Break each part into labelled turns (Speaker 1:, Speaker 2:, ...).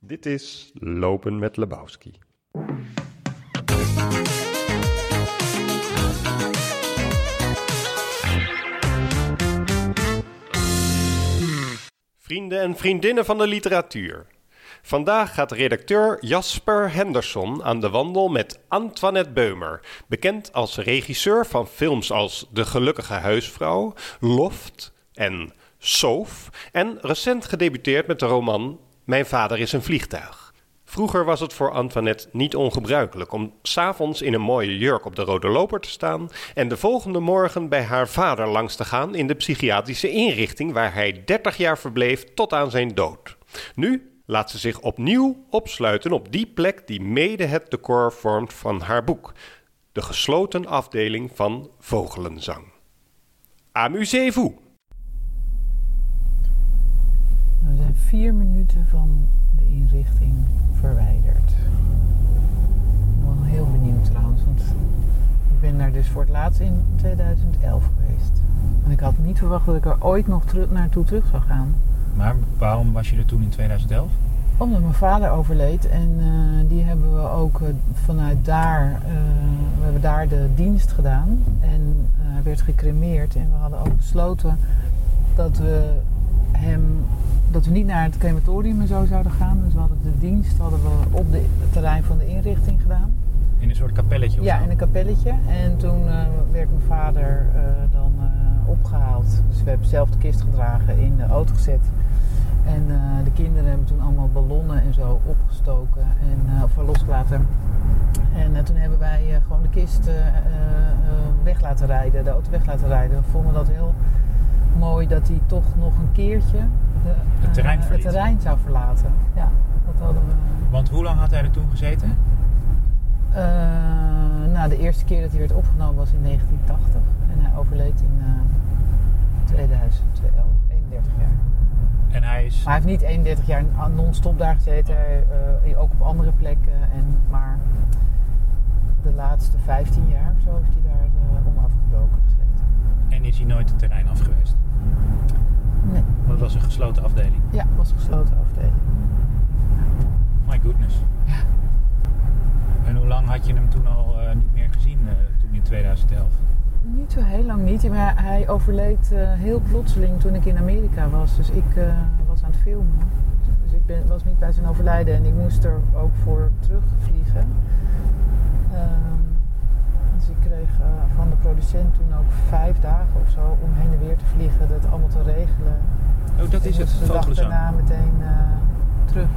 Speaker 1: Dit is Lopen met Lebowski. Vrienden en vriendinnen van de literatuur. Vandaag gaat redacteur Jasper Henderson aan de wandel met Antoinette Beumer, bekend als regisseur van films als De Gelukkige Huisvrouw, Loft en Soof en recent gedebuteerd met de roman Mijn vader is een vliegtuig. Vroeger was het voor Antoinette niet ongebruikelijk om s'avonds in een mooie jurk op de rode loper te staan en de volgende morgen bij haar vader langs te gaan in de psychiatrische inrichting waar hij 30 jaar verbleef tot aan zijn dood. Nu laat ze zich opnieuw opsluiten op die plek die mede het decor vormt van haar boek, de gesloten afdeling van vogelenzang. Amusez-vous!
Speaker 2: We zijn vier minuten van de inrichting verwijderd. Ik ben wel heel benieuwd trouwens, want ik ben daar dus voor het laatst in 2011 geweest. En ik had niet verwacht dat ik er ooit nog terug naartoe terug zou gaan.
Speaker 3: Maar waarom was je er toen in 2011?
Speaker 2: Omdat mijn vader overleed en eh, die hebben we ook eh, vanuit daar, eh, we hebben daar de dienst gedaan en eh, werd gecremeerd. En we hadden ook besloten dat we hem, dat we niet naar het crematorium en zo zouden gaan. Dus we hadden de dienst hadden we op de, het terrein van de inrichting gedaan.
Speaker 3: In een soort kapelletje of
Speaker 2: Ja,
Speaker 3: zo?
Speaker 2: in een kapelletje. En toen eh, werd mijn vader eh, dan eh, opgehaald. Dus we hebben zelf de kist gedragen, in de auto gezet. En eh, de kinderen hebben toen allemaal ballonnen en zo opgestoken en eh, of losgelaten. En eh, toen hebben wij eh, gewoon de kist eh, eh, weg laten rijden, de auto weg laten rijden. We vonden dat heel mooi dat hij toch nog een keertje de,
Speaker 3: Het terrein
Speaker 2: eh, het
Speaker 3: verliet.
Speaker 2: terrein zou verlaten. Ja, dat hadden we.
Speaker 3: Want hoe lang had hij er toen gezeten?
Speaker 2: Eh, nou, de eerste keer dat hij werd opgenomen was in 1980. En hij overleed in eh 2011, 31 jaar.
Speaker 3: En hij is...
Speaker 2: Maar hij heeft niet 31 jaar non-stop daar gezeten. Hij, eh, ook op andere plekken. En, maar de laatste 15 jaar of zo heeft hij daar eh, onafgebroken gezeten.
Speaker 3: En is hij nooit het terrein af geweest?
Speaker 2: Nee.
Speaker 3: Want het was een gesloten afdeling.
Speaker 2: Ja, was een gesloten afdeling.
Speaker 3: My goodness.
Speaker 2: Ja.
Speaker 3: En hoe lang had je hem toen al eh, niet meer gezien, eh, toen in 2011?
Speaker 2: Niet zo heel lang niet. Maar hij overleed eh, heel plotseling toen ik in Amerika was. Dus ik eh, was aan het filmen. Dus ik ben, was niet bij zijn overlijden en ik moest er ook voor terugvliegen. Ehm, dus ik kreeg eh, van de producent toen ook vijf dagen of zo om heen en weer te vliegen, dat allemaal te regelen.
Speaker 3: Oh, dat
Speaker 2: Ik
Speaker 3: is het,
Speaker 2: moest de dag
Speaker 3: vogelenzang.
Speaker 2: daarna meteen eh, terug.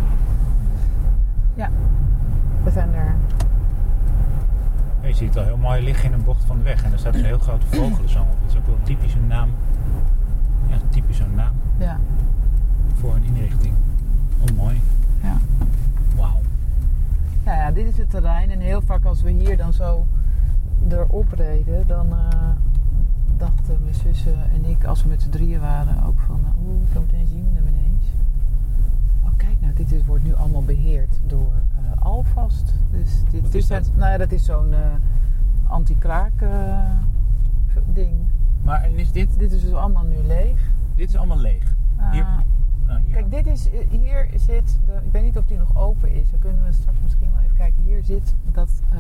Speaker 2: Ja, we zijn er.
Speaker 3: Ja, Je ziet het al heel mooi liggen in een bocht van de weg. En daar staat een heel grote vogelenzang op. Dat is ook wel typisch een naam. Ja, typisch een naam
Speaker 2: Ja,
Speaker 3: voor een inrichting. Oh, mooi.
Speaker 2: ja.
Speaker 3: Wauw.
Speaker 2: Nou ja, dit is het terrein. En heel vaak als we hier dan zo erop reden, dan eh, dachten mijn zussen en ik, als we met z'n drieën waren, ook van, eh, oeh, zo meteen zien we hem ineens. Oh, kijk nou, dit is, wordt nu allemaal beheerd door eh, Alvast. Dus dit,
Speaker 3: Wat
Speaker 2: dit
Speaker 3: is
Speaker 2: zijn-
Speaker 3: dat?
Speaker 2: nou ja, dat is zo'n eh anti-kraak eh, ding.
Speaker 3: Maar en is dit,
Speaker 2: Dit is dus allemaal nu leeg.
Speaker 3: dit is allemaal leeg?
Speaker 2: Eh,
Speaker 3: Hier- Nou, hier.
Speaker 2: Kijk, dit is, eh, hier zit, de, ik weet niet of die nog open is, dan kunnen we straks misschien wel even kijken. Hier zit dat eh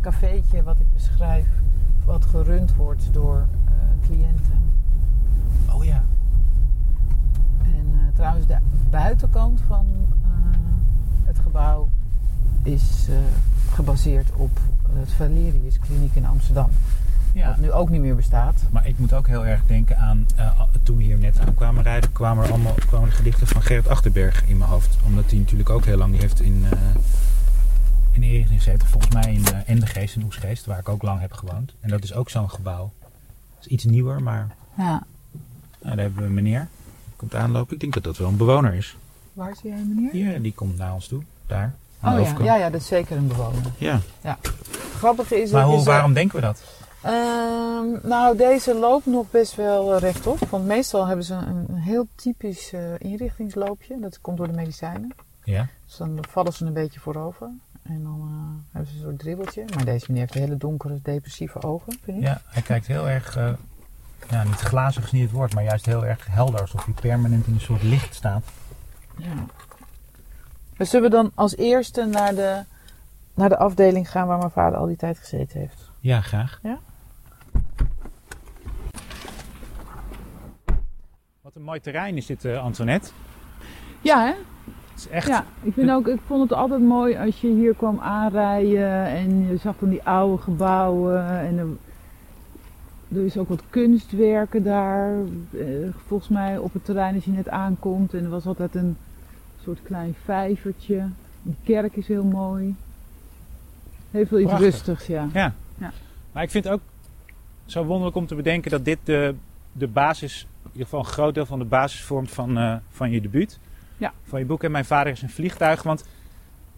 Speaker 2: cafeetje wat ik beschrijf, wat gerund wordt door eh, cliënten.
Speaker 3: Oh ja.
Speaker 2: En eh, trouwens, de buitenkant van eh, het gebouw is eh, gebaseerd op eh, het Valerius Kliniek in Amsterdam.
Speaker 3: ja.
Speaker 2: Wat nu ook niet meer bestaat.
Speaker 3: Maar ik moet ook heel erg denken aan. eh, a- toen we hier net aankwamen rijden, kwamen er allemaal kwamen de gedichten van Gerrit Achterberg in mijn hoofd. Omdat hij natuurlijk ook heel lang die heeft in. eh in de inrichting gezeten. Volgens mij in eh Endegeest en Oesgeest, waar ik ook lang heb gewoond. En dat is ook zo'n gebouw. Dat is iets nieuwer, maar.
Speaker 2: Ja.
Speaker 3: Nou, daar hebben we een meneer. Komt aanlopen. Ik denk dat dat wel een bewoner is.
Speaker 2: Waar zie jij meneer?
Speaker 3: Ja, die komt naar ons toe. Daar.
Speaker 2: Oh
Speaker 3: Aan de
Speaker 2: ja.
Speaker 3: overkant.
Speaker 2: ja, ja, dat is zeker een bewoner.
Speaker 3: Ja.
Speaker 2: Grappig is
Speaker 3: Maar
Speaker 2: dat je
Speaker 3: hoe,
Speaker 2: zo-
Speaker 3: waarom denken we dat?
Speaker 2: Ehm, nou, deze loopt nog best wel eh, rechtop. Want meestal hebben ze een, een heel typisch eh, inrichtingsloopje. Dat komt door de medicijnen.
Speaker 3: Ja.
Speaker 2: Dus dan vallen ze een beetje voorover. En dan eh, hebben ze een soort dribbeltje. Maar deze meneer heeft hele donkere, depressieve ogen, vind ik.
Speaker 3: Ja, hij kijkt heel erg, eh, ja, niet glazig is niet het woord, maar juist heel erg helder. Alsof hij permanent in een soort licht staat.
Speaker 2: Ja. Maar Zullen we dan als eerste naar de, naar de afdeling gaan waar mijn vader al die tijd gezeten heeft?
Speaker 3: Ja, graag.
Speaker 2: Ja?
Speaker 3: Wat een mooi terrein is dit, eh, Antoinette.
Speaker 2: Ja, hè?
Speaker 3: Het is echt...
Speaker 2: Ja, ik, vind ook, ik vond het altijd mooi als je hier kwam aanrijden en je zag dan die oude gebouwen. En er, er is ook wat kunstwerken daar. Eh, Volgens mij op het terrein als je net aankomt. En er was altijd een soort klein vijvertje. De kerk is heel mooi. Heel veel iets
Speaker 3: Prachtig.
Speaker 2: rustigs, ja.
Speaker 3: Ja.
Speaker 2: Ja.
Speaker 3: Maar ik vind het ook zo wonderlijk om te bedenken dat dit de, de basis, in ieder geval een groot deel van de basis vormt van, eh, van je debuut.
Speaker 2: Ja.
Speaker 3: Van je boek. En mijn vader is een vliegtuig. Want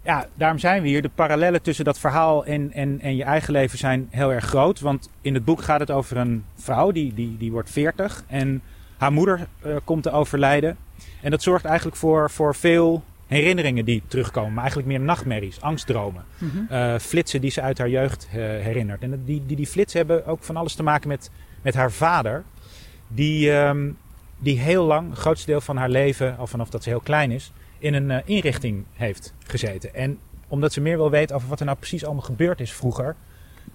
Speaker 3: ja, daarom zijn we hier. De parallellen tussen dat verhaal en, en, en je eigen leven zijn heel erg groot. Want in het boek gaat het over een vrouw die, die, die wordt 40 en haar moeder eh, komt te overlijden. En dat zorgt eigenlijk voor, voor veel herinneringen die terugkomen. Maar eigenlijk meer nachtmerries, angstdromen
Speaker 2: Mhm.
Speaker 3: eh, flitsen die ze uit haar jeugd eh, herinnert. En dat- die, die, die flitsen hebben ook van alles te maken met, met haar vader. Die, ehm, die heel lang, het grootste deel van haar leven, al vanaf dat ze heel klein is, in een eh, inrichting heeft gezeten. En omdat ze meer wil weten over wat er nou precies allemaal gebeurd is vroeger,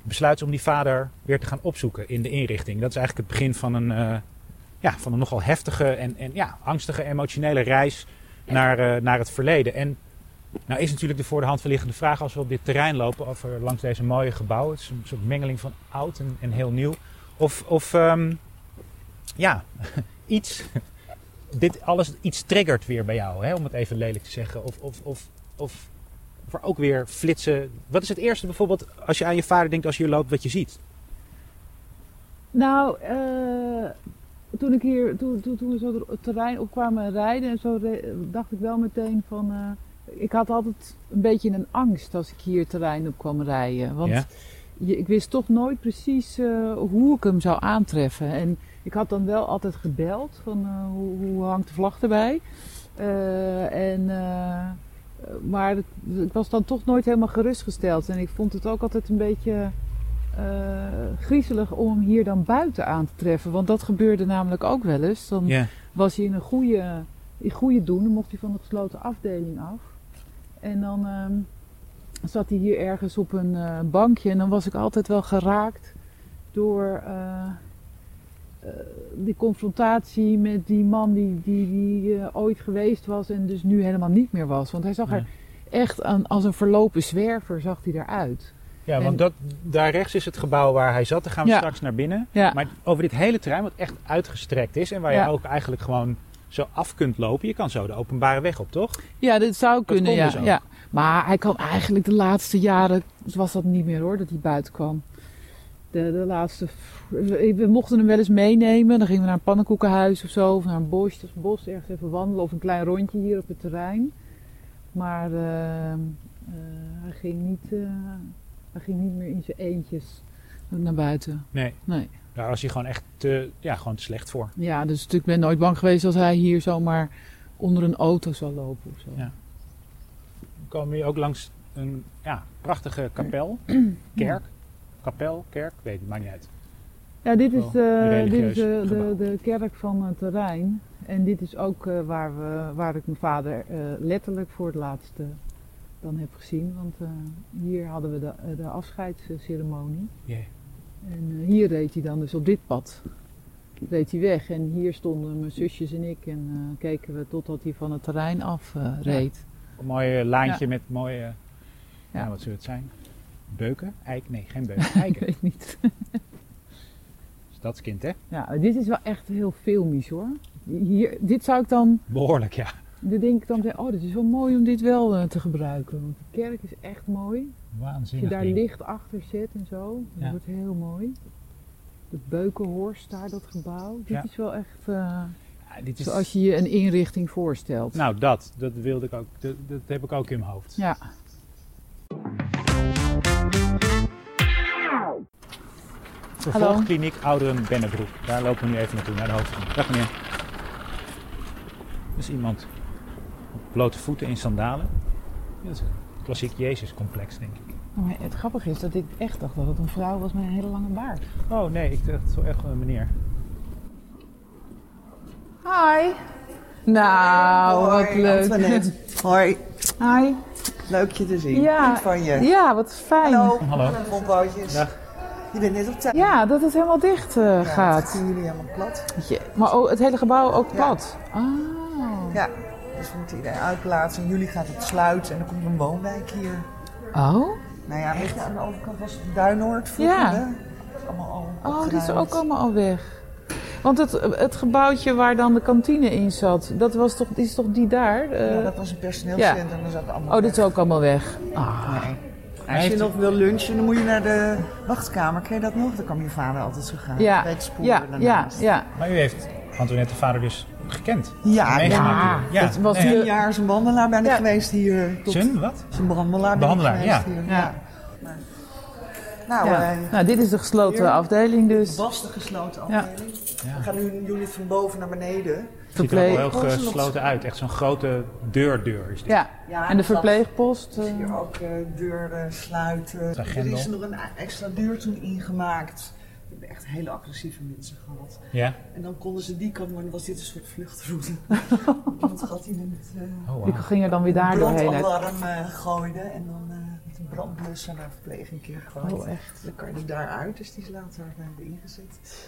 Speaker 3: besluit ze om die vader weer te gaan opzoeken in de inrichting. Dat is eigenlijk het begin van een, eh, ja, van een nogal heftige en, en ja, angstige, emotionele reis naar, eh, naar het verleden. En nou is natuurlijk de voor de hand liggende vraag als we op dit terrein lopen, of er langs deze mooie gebouwen, het is een soort mengeling van oud en, en heel nieuw, of, of ehm, ja, iets, dit alles iets triggert weer bij jou, hè, om het even lelijk te zeggen, of, of, of, of, of er ook weer flitsen. Wat is het eerste bijvoorbeeld als je aan je vader denkt als je hier loopt, wat je ziet?
Speaker 2: Nou, eh, toen ik hier, toen, toen, toen we zo het terrein opkwamen rijden en zo, re- dacht ik wel meteen van, eh, ik had altijd een beetje een angst als ik hier het terrein op kwam rijden. Want
Speaker 3: Ja.
Speaker 2: je, ik wist toch nooit precies eh, hoe ik hem zou aantreffen. En ik had dan wel altijd gebeld van, eh, hoe, hoe hangt de vlag erbij? Eh, en, eh, maar het- ik was dan toch nooit helemaal gerustgesteld. En ik vond het ook altijd een beetje eh, griezelig om hem hier dan buiten aan te treffen. Want dat gebeurde namelijk ook wel eens. Dan
Speaker 3: Ja,
Speaker 2: was hij in een goede, in goede doen, dan mocht hij van de gesloten afdeling af. En dan ehm, zat hij hier ergens op een eh, bankje en dan was ik altijd wel geraakt door eh, eh, die confrontatie met die man die, die, die eh, ooit geweest was en dus nu helemaal niet meer was. Want hij zag er echt aan, als een verlopen zwerver, zag hij eruit.
Speaker 3: ja want
Speaker 2: En-
Speaker 3: dat, daar rechts is het gebouw waar hij zat, daar gaan we
Speaker 2: Ja.
Speaker 3: straks naar binnen.
Speaker 2: Ja,
Speaker 3: Maar over dit hele terrein, wat echt uitgestrekt is en waar
Speaker 2: Ja.
Speaker 3: je ook eigenlijk gewoon zo af kunt lopen. Je kan zo de openbare weg op, toch?
Speaker 2: Ja, dat zou kunnen,
Speaker 3: kon
Speaker 2: ja,
Speaker 3: dus ook.
Speaker 2: ja. Maar hij kan eigenlijk de laatste jaren, dus was dat niet meer hoor, dat hij buiten kwam. De, de laatste, we we mochten hem wel eens meenemen. Dan gingen we naar een pannenkoekenhuis of zo, of naar een bos, dus bos ergens even wandelen, of een klein rondje hier op het terrein. Maar eh, eh, hij, ging niet, eh, hij ging niet meer in zijn eentjes naar buiten.
Speaker 3: Nee.
Speaker 2: Nee.
Speaker 3: Daar was hij gewoon echt te, ja, gewoon te slecht voor.
Speaker 2: Ja, dus ik ben nooit bang geweest als hij hier zomaar onder een auto zou lopen of zo.
Speaker 3: Ja. We komen hier ook langs een ja, prachtige kapel, kerk. Kapel, kerk, weet het, maakt niet uit.
Speaker 2: Ja, dit is,
Speaker 3: Wel
Speaker 2: de,
Speaker 3: een
Speaker 2: dit is de,
Speaker 3: Oh, religieus
Speaker 2: de,
Speaker 3: gebouw.
Speaker 2: de kerk van het terrein. En dit is ook eh, waar, we, waar ik mijn vader eh, letterlijk voor het laatst eh, dan heb gezien. Want eh, hier hadden we de, eh, de afscheidsceremonie. En eh, hier reed hij dan dus op dit pad. Reed hij weg. En hier stonden mijn zusjes en ik. En eh, keken we totdat hij van het terrein af eh, reed.
Speaker 3: Een mooi eh, laantje met mooie, eh,
Speaker 2: Ja.
Speaker 3: ja. wat zullen het zijn? Beuken? Eik? Nee, geen beuken.
Speaker 2: Ik
Speaker 3: Eiken. Dus
Speaker 2: weet niet.
Speaker 3: Stadskind, hè?
Speaker 2: Ja, dit is wel echt heel filmisch hoor. Hier, dit zou ik dan
Speaker 3: Behoorlijk, ja.
Speaker 2: Dan denk ik dan, weer, oh, dit is wel mooi om dit wel eh, te gebruiken. Want de kerk is echt mooi. Als je
Speaker 3: Waanzinnig.
Speaker 2: daar
Speaker 3: ding.
Speaker 2: licht achter zet en zo, dat
Speaker 3: Ja.
Speaker 2: wordt heel mooi. De Beukenhorst, daar dat gebouw. Dit
Speaker 3: Ja.
Speaker 2: is wel echt eh,
Speaker 3: Ja, Ah, dit is,
Speaker 2: zoals je je een inrichting voorstelt.
Speaker 3: Nou, dat, dat wilde ik ook. Dat, dat heb ik ook in mijn hoofd.
Speaker 2: Ja.
Speaker 3: Vervolgkliniek Ouderen Bennebroek. Daar lopen we nu even naartoe, naar de hoofdgang. Dag meneer. Er is iemand op blote voeten in sandalen. Ja, Dat is een klassiek Jezus-complex, denk ik.
Speaker 2: Maar Oh, het grappige is dat ik echt dacht dat het een vrouw was met een hele lange baard.
Speaker 3: Oh nee, ik dacht zo echt wel een meneer.
Speaker 2: Hi. Nou, wat
Speaker 4: Hoi,
Speaker 2: leuk. Nou,
Speaker 4: Oh, Antoinette. Hoi.
Speaker 2: Hi.
Speaker 4: Leuk je te zien.
Speaker 2: Ja.
Speaker 4: Goed van je.
Speaker 2: Ja, wat fijn.
Speaker 4: Hallo.
Speaker 3: Hallo.
Speaker 4: Volpootjes. Je bent net op tijd.
Speaker 2: Ja, dat het helemaal dicht eh,
Speaker 4: Ja, dat
Speaker 2: gaat.
Speaker 4: zien jullie helemaal plat.
Speaker 2: Maar oh, het hele gebouw ook
Speaker 4: Ja.
Speaker 2: plat. Ah.
Speaker 4: Ja. Dus we moeten iedereen uitplaatsen. Jullie gaat het sluiten. En dan komt een woonwijk hier.
Speaker 2: Oh?
Speaker 4: Nou ja, weet je, aan de overkant was het Duinoord vroeger.
Speaker 2: Ja.
Speaker 4: hè? Dat is allemaal al
Speaker 2: Oh, die is
Speaker 4: opgeruimd.
Speaker 2: ook allemaal al weg. Want het, het gebouwtje waar dan de kantine in zat, dat was toch, die is toch die daar? Eh,
Speaker 4: Ja, dat was een personeelscentrum. en Dan zat het allemaal
Speaker 2: oh, dit is
Speaker 4: weg.
Speaker 2: ook allemaal weg. Ah.
Speaker 4: Nee. Als je
Speaker 3: heeft-
Speaker 4: nog wil lunchen, dan moet je naar de wachtkamer. Ken je dat nog? Daar kwam je vader altijd zo gaan.
Speaker 2: Ja,
Speaker 4: Bij het spoor
Speaker 2: ja, ja,
Speaker 4: daarnaast.
Speaker 2: ja.
Speaker 3: Maar u heeft Antoinette de vader dus gekend.
Speaker 4: Ja,
Speaker 3: Meegemaakt
Speaker 2: ja.
Speaker 3: hier.
Speaker 2: Dat was
Speaker 3: nee,
Speaker 2: hier-
Speaker 4: Tien jaar is een wandelaar ben ik
Speaker 2: Ja.
Speaker 4: geweest hier. Tot
Speaker 3: Sun, wat?
Speaker 4: Is een behandelaar. ben ik
Speaker 3: Behandelaar,
Speaker 4: geweest
Speaker 3: ja.
Speaker 4: hier.
Speaker 2: Ja.
Speaker 4: Maar- Nou,
Speaker 2: Ja.
Speaker 4: eh,
Speaker 2: Nou, dit is de gesloten afdeling
Speaker 4: het
Speaker 2: dus.
Speaker 4: was de gesloten afdeling. We gaan nu een unit van boven naar beneden.
Speaker 3: Ziet er ook wel
Speaker 2: Verpleeg...
Speaker 4: Verpleeg-
Speaker 3: heel gesloten uit. Echt zo'n grote deurdeur is dit.
Speaker 2: Ja.
Speaker 4: Ja,
Speaker 2: en de
Speaker 4: dat-
Speaker 2: verpleegpost. eh,
Speaker 4: Hier ook eh, deuren sluiten.
Speaker 3: De
Speaker 4: Er
Speaker 3: grendel.
Speaker 4: is nog een extra deur toen ingemaakt. We hebben echt hele agressieve mensen gehad.
Speaker 3: Ja?
Speaker 4: En dan konden ze die kant, maar dan was dit een soort vluchtroute. Want had iemand eh,
Speaker 3: Oh,
Speaker 2: Die
Speaker 3: wauw.
Speaker 2: ging er dan weer daar doorheen. uit.
Speaker 4: brandalarm eh gooide en dan eh, met een brandblusser naar verpleeg een keer gooide.
Speaker 2: Oh, echt.
Speaker 4: Dan kan je er daaruit, dus die is later eh, weer ingezet.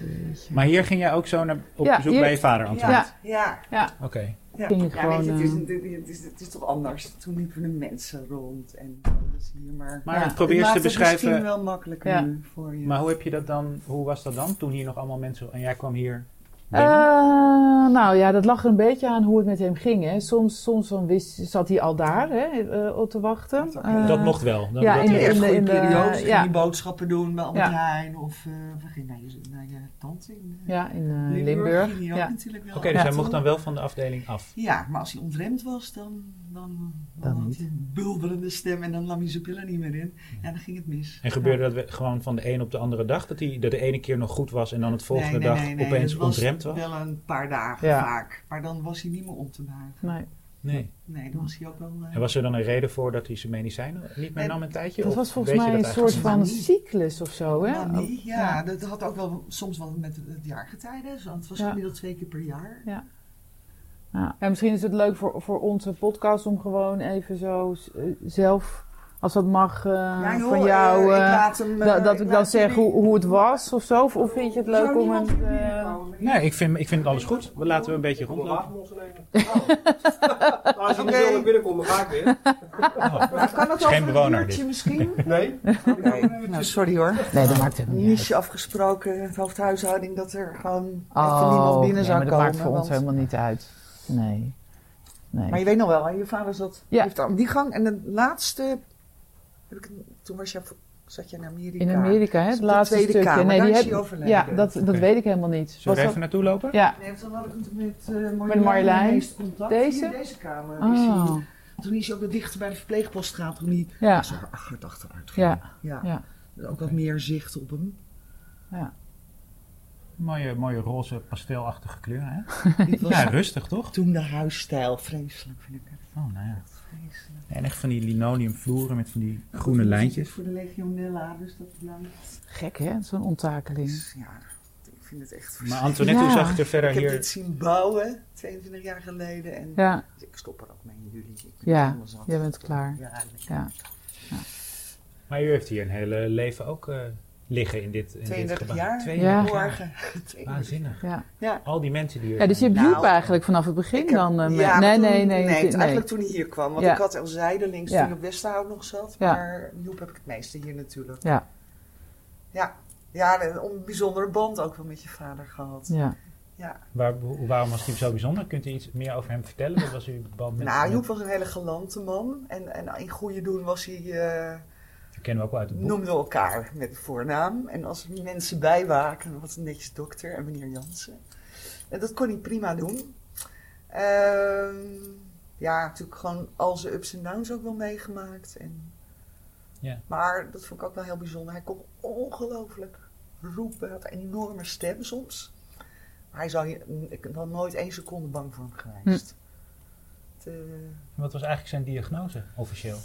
Speaker 3: Maar hier ging jij ook zo naar, op
Speaker 2: Ja,
Speaker 3: bezoek
Speaker 2: hier-
Speaker 3: bij je vader, Antoinette?
Speaker 2: Ja.
Speaker 4: Ja,
Speaker 3: Oké.
Speaker 4: ja.
Speaker 2: Ging je
Speaker 4: ja weet je,
Speaker 2: gewoon,
Speaker 4: het, is,
Speaker 2: eh,
Speaker 4: een- dit- dit is- het is toch anders. Toen liepen de mensen rond en alles hier, maar...
Speaker 3: Maar
Speaker 2: Ja.
Speaker 3: ik probeer eens te
Speaker 4: Het maakt het misschien
Speaker 3: beschrijven.
Speaker 4: wel makkelijker
Speaker 2: Ja.
Speaker 4: nu voor je.
Speaker 3: Maar hoe heb je dat dan, hoe was dat dan? Toen hier nog allemaal mensen, en jij kwam hier binnen?
Speaker 2: Eh, nou ja, dat lag er een beetje aan hoe het met hem ging. Hè. Soms, soms dan wist, zat hij al daar hè, eh, op te wachten.
Speaker 4: Dat ook-
Speaker 3: dat
Speaker 2: Eh,
Speaker 3: mocht wel. Dan
Speaker 2: ja,
Speaker 3: dat
Speaker 2: in
Speaker 4: in
Speaker 2: de-
Speaker 3: hier-
Speaker 4: de, in de,
Speaker 2: in de-
Speaker 4: periode
Speaker 2: ja.
Speaker 4: ging je boodschappen doen bij Albert
Speaker 2: Ja.
Speaker 4: Heijn of eh, we gingen naar je, naar je tante in eh,
Speaker 2: Ja, in eh,
Speaker 4: Limburg.
Speaker 2: Limburg.
Speaker 4: ging je ook
Speaker 2: Ja.
Speaker 4: natuurlijk wel
Speaker 3: Oké, dus
Speaker 2: Ja.
Speaker 3: hij mocht dan wel van de afdeling af.
Speaker 4: Ja, maar als hij ontremd was, dan, dan, dan,
Speaker 2: Dan
Speaker 4: had
Speaker 2: niet.
Speaker 4: hij een bulderende stem en dan nam hij zijn pillen niet meer in. Ja, dan ging het mis.
Speaker 3: En gebeurde dat we- gewoon van de een op de andere dag? Dat hij dat de ene keer nog goed was en dan het volgende
Speaker 4: Nee, nee,
Speaker 3: dag
Speaker 4: nee, nee,
Speaker 3: opeens
Speaker 4: het was
Speaker 3: ontremd was?
Speaker 4: wel een paar dagen
Speaker 2: Ja.
Speaker 4: vaak. Maar dan was hij niet meer om te buigen.
Speaker 2: Nee,
Speaker 3: Nee.
Speaker 4: Nee, dan was hij ook wel... eh,
Speaker 3: En was er dan een reden voor dat hij zijn medicijnen niet meer
Speaker 4: En
Speaker 3: nam een tijdje?
Speaker 2: dat
Speaker 3: Of
Speaker 2: was volgens
Speaker 3: weet je
Speaker 2: mij een
Speaker 3: dat
Speaker 2: soort
Speaker 3: eigenlijk
Speaker 2: van
Speaker 4: niet?
Speaker 2: cyclus of zo. Hè?
Speaker 4: manie. ja,
Speaker 2: ja.
Speaker 4: dat had ook wel soms wel met het jaargetijden. Want het was
Speaker 2: Ja.
Speaker 4: gemiddeld twee keer per jaar.
Speaker 2: Ja. En misschien is het leuk voor, voor onze podcast om gewoon even zo z- eh, zelf, als dat mag, eh,
Speaker 4: Ja, joh,
Speaker 2: van jou.
Speaker 4: eh, ik
Speaker 2: eh,
Speaker 4: laat hem,
Speaker 2: da-
Speaker 4: eh,
Speaker 2: dat ik dan
Speaker 4: laat
Speaker 2: zeg
Speaker 4: jullie-
Speaker 2: hoe, hoe het was of zo. Of, of vind je het leuk
Speaker 4: Zou
Speaker 2: om
Speaker 4: niemand
Speaker 2: het.
Speaker 4: hier
Speaker 2: eh,
Speaker 4: binnenkomen?
Speaker 3: Nee, ik vind, ik vind alles goed. We laten we een beetje rondlopen.
Speaker 1: Als je
Speaker 4: Oké. persoonlijk
Speaker 1: binnenkomt, dan ga ik weer.
Speaker 3: Oh,
Speaker 4: Maar kan dat
Speaker 3: is geen
Speaker 4: over een
Speaker 3: bewoner, dus. dit.
Speaker 4: uurtje misschien?
Speaker 1: Nee?
Speaker 4: Oh, Nee. Nou, sorry hoor.
Speaker 2: Nee, dat maakt het niet. uit.
Speaker 4: Niche afgesproken, het hoofdhuishouding, dat er gewoon
Speaker 2: Oh,
Speaker 4: even niemand binnen
Speaker 2: nee,
Speaker 4: zou
Speaker 2: maar dat
Speaker 4: komen.
Speaker 2: maakt voor ons
Speaker 4: want-
Speaker 2: helemaal niet uit. Nee. nee.
Speaker 4: Maar je weet nog wel, hè? je vader zat
Speaker 2: Ja.
Speaker 4: heeft aan die gang. En de laatste, heb ik, toen was jij, zat je in Amerika.
Speaker 2: in Amerika, hè,
Speaker 4: Op
Speaker 2: het
Speaker 4: de
Speaker 2: laatste
Speaker 4: Tweede
Speaker 2: stukje.
Speaker 4: Kamer, daar
Speaker 2: die
Speaker 4: is
Speaker 2: heb-
Speaker 4: hij overleden.
Speaker 2: Ja, dat, dat
Speaker 3: Oké.
Speaker 2: weet ik helemaal niet.
Speaker 3: Zullen we
Speaker 2: Was
Speaker 3: even naartoe lopen?
Speaker 2: dat- Ja.
Speaker 4: Nee, toen had ik het met eh Marjolein,
Speaker 2: Met Marjolein.
Speaker 4: het meeste contact.
Speaker 2: Deze?
Speaker 4: Hier in deze kamer. is
Speaker 2: Oh.
Speaker 4: hij. Toen is hij ook weer dichter bij de verpleegpoststraat. Toen hij
Speaker 2: Ja.
Speaker 4: zo hard achteruit ging.
Speaker 2: Ja. Ja.
Speaker 4: Dus Ook wat meer zicht op hem.
Speaker 3: Mooie, mooie roze pastelachtige kleur, hè?
Speaker 4: Dit was
Speaker 3: Ja, rustig toch?
Speaker 4: toen de huisstijl. Vreselijk vind ik het.
Speaker 3: Oh, nou ja.
Speaker 4: Vreselijk.
Speaker 3: En echt van die linoleumvloeren met van die groene lijntjes.
Speaker 4: Voor de legionella, dus dat blijft.
Speaker 2: Gek, hè? Zo'n onttakeling.
Speaker 4: Ja, ik vind het echt
Speaker 3: Maar
Speaker 4: verschrikkelijk.
Speaker 3: Antoinette, hoe
Speaker 2: Ja.
Speaker 3: zag het er verder
Speaker 4: Ik heb dit
Speaker 3: hier?
Speaker 4: zien bouwen 22 jaar geleden en
Speaker 2: Ja.
Speaker 4: dus ik stop er ook mee in juli. Ik ben
Speaker 2: Ja,
Speaker 4: helemaal zat.
Speaker 2: jij bent klaar.
Speaker 4: Ja, eigenlijk.
Speaker 2: Ja.
Speaker 3: Maar u heeft hier een hele leven ook eh, liggen in dit, in dit
Speaker 4: 32
Speaker 3: gebouw.
Speaker 4: jaar.
Speaker 3: 32
Speaker 2: Ja.
Speaker 3: jaar.
Speaker 4: Morgen.
Speaker 3: Waanzinnig.
Speaker 2: Ja.
Speaker 4: Ja.
Speaker 3: Al die mensen die hier
Speaker 2: ja, dus je hebt
Speaker 4: Nou,
Speaker 2: Joep eigenlijk vanaf het begin
Speaker 4: Ik heb-
Speaker 2: dan... eh, met-
Speaker 4: ja,
Speaker 2: nee,
Speaker 4: toen-
Speaker 2: nee, nee,
Speaker 4: nee,
Speaker 2: nee,
Speaker 4: Eigenlijk toen hij hier kwam, want
Speaker 2: Ja.
Speaker 4: ik had al zijdelings
Speaker 2: Ja.
Speaker 4: toen ik op Westerhout nog zat.
Speaker 2: Ja.
Speaker 4: Maar Joep heb ik het meeste hier natuurlijk.
Speaker 2: Ja.
Speaker 4: Ja, ja een on- bijzondere band ook wel met je vader gehad.
Speaker 2: Ja.
Speaker 3: Waar, hoe- waarom was hij zo bijzonder? Kunt u iets meer over hem vertellen? Wat was uw band met
Speaker 4: Nou,
Speaker 3: met-
Speaker 4: Joep was een hele galante man. En, en in goede doen was hij... eh,
Speaker 3: Dat kennen we ook wel uit het boek.
Speaker 4: noemden elkaar met de voornaam. En als er mensen bij waren, dan was het netjes dokter en meneer Jansen. En dat kon hij prima doen. Ehm, ja, natuurlijk gewoon al zijn ups en downs ook wel meegemaakt. En...
Speaker 3: Ja.
Speaker 4: Maar dat vond ik ook wel heel bijzonder. Hij kon ongelooflijk roepen, had een enorme stem soms. Maar hij zou hier, ik ben nooit één seconde bang voor hem geweest. Het, eh,
Speaker 3: Wat was eigenlijk zijn diagnose officieel?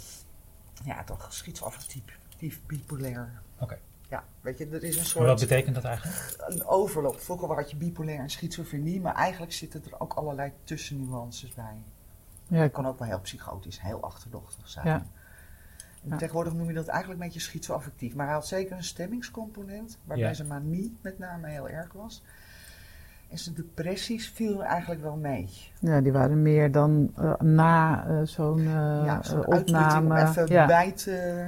Speaker 4: ja, toch schietsaffectief, dief- bipolair.
Speaker 3: Oké.
Speaker 4: Ja, weet je, er is een
Speaker 3: Maar Wat
Speaker 4: soort
Speaker 3: betekent dat eigenlijk?
Speaker 4: een overloop. Vroeger had je bipolair en schizofrenie, maar eigenlijk zitten er ook allerlei tussennuances bij.
Speaker 2: Ja,
Speaker 4: Dat kan ook wel heel psychotisch, heel achterdochtig zijn.
Speaker 2: Ja.
Speaker 4: En
Speaker 2: Ja.
Speaker 4: Tegenwoordig noem je dat eigenlijk een beetje schizoaffectief. Maar hij had zeker een stemmingscomponent, waarbij
Speaker 3: Ja.
Speaker 4: zijn manie met name heel erg was. En zijn depressies vielen eigenlijk wel mee.
Speaker 2: ja, die waren meer dan eh, na eh, zo'n eh,
Speaker 4: ja, zo'n
Speaker 2: eh,
Speaker 4: uitputting om
Speaker 2: opname.
Speaker 4: even
Speaker 2: ja.
Speaker 4: bij te...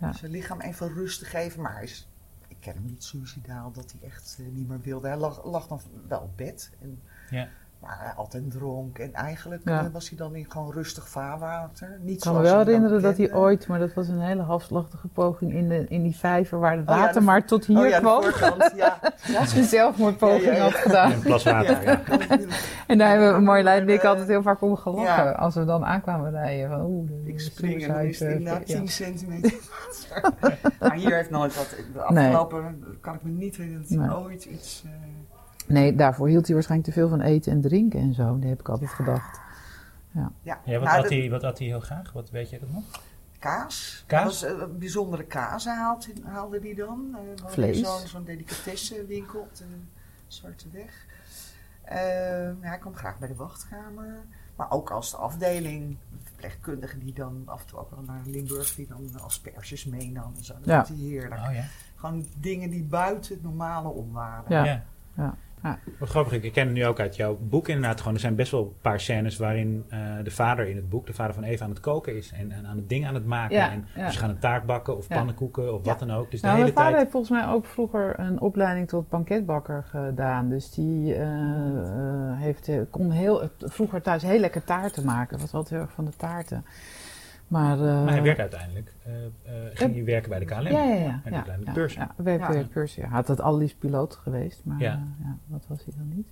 Speaker 2: Ja.
Speaker 4: Zijn lichaam even rust te geven. Maar hij is, ik ken hem niet suicidaal, dat hij echt eh, niet meer wilde. Hij lag, lag dan wel op bed. En,
Speaker 3: Ja.
Speaker 4: Maar hij altijd dronk. En eigenlijk
Speaker 2: Ja.
Speaker 4: eh, was hij dan in gewoon rustig vaarwater. Niet
Speaker 2: Ik kan me
Speaker 4: zoals
Speaker 2: wel
Speaker 4: we hem
Speaker 2: herinneren dat hij
Speaker 4: kennen.
Speaker 2: ooit, maar dat was een hele halfslachtige poging in, de, in die vijver waar het
Speaker 4: Oh ja,
Speaker 2: water
Speaker 4: de-
Speaker 2: maar tot hier
Speaker 4: oh, ja, de
Speaker 2: kwam.
Speaker 4: voorkant, ja.
Speaker 2: Als je een zelfmoordpoging
Speaker 4: Ja, ja, ja.
Speaker 2: had gedaan.
Speaker 3: Een
Speaker 4: Nou,
Speaker 3: plas water, ja.
Speaker 2: En daar hebben Marjolein en ik altijd heel vaak om gelachen.
Speaker 4: Ja.
Speaker 2: Als we dan aankwamen rijden. Van, oeh, de
Speaker 4: Ik spring en dan is
Speaker 2: suicide,
Speaker 4: hij na
Speaker 2: eh,
Speaker 4: 10
Speaker 2: ja.
Speaker 4: centimeter water. maar hier heeft nooit wat... De afgelopen kan ik me niet herinneren dat hij
Speaker 2: Nee.
Speaker 4: ooit iets... eh,
Speaker 2: Nee, daarvoor hield hij waarschijnlijk te veel van eten en drinken en zo. Dat heb ik altijd gedacht.
Speaker 4: ja,
Speaker 3: Ja, wat,
Speaker 4: Nou,
Speaker 3: had
Speaker 4: dat-
Speaker 3: hij, wat had hij heel graag? Wat weet je dat nog?
Speaker 4: Kaas.
Speaker 3: Kaas?
Speaker 4: Dat was eh, een bijzondere kaas haalde, haalde die dan. Eh, we hadden
Speaker 2: Vlees.
Speaker 4: Zo'n zo'n delicatessenwinkel op de Zwarte Weg. Ehm, hij kwam graag bij de wachtkamer. Maar ook als de afdeling. De verpleegkundige die dan af en toe ook wel naar Limburg... die dan asperges meenam en zo. Dat
Speaker 2: Ja.
Speaker 4: vond hij heerlijk.
Speaker 3: Oh ja.
Speaker 4: Gewoon dingen die buiten het normale om waren.
Speaker 2: Ja.
Speaker 3: ja.
Speaker 2: Ja. Ja.
Speaker 3: Wat grappig, ik ken het nu ook uit jouw boek inderdaad. Gewoon, er zijn best wel een paar scènes waarin eh, de vader in het boek, de vader van Eva, aan het koken is. En, en aan het ding aan het maken.
Speaker 2: Ja,
Speaker 3: en
Speaker 2: ja.
Speaker 3: Of ze gaan een taart bakken of
Speaker 2: Ja.
Speaker 3: pannenkoeken of
Speaker 4: Ja.
Speaker 3: wat dan ook. Dus de
Speaker 2: Nou,
Speaker 3: hele
Speaker 2: mijn vader
Speaker 3: tijd...
Speaker 2: heeft volgens mij ook vroeger een opleiding tot banketbakker gedaan. Dus die eh, eh, heeft, eh, kon heel, vroeger thuis heel lekker taarten maken. Was altijd heel erg van de taarten. Maar, eh,
Speaker 3: Maar hij werd uiteindelijk, eh, eh, ging hij werken bij de KLM.
Speaker 2: Ja, ja, ja.
Speaker 3: En
Speaker 2: ja,
Speaker 3: de kleine
Speaker 2: ja,
Speaker 3: Purser.
Speaker 2: Ja, bij
Speaker 4: Ja.
Speaker 2: ja. Purser. Hij had het Aldi's piloot geweest, maar
Speaker 3: Ja.
Speaker 2: ja. ja, dat was hij dan niet.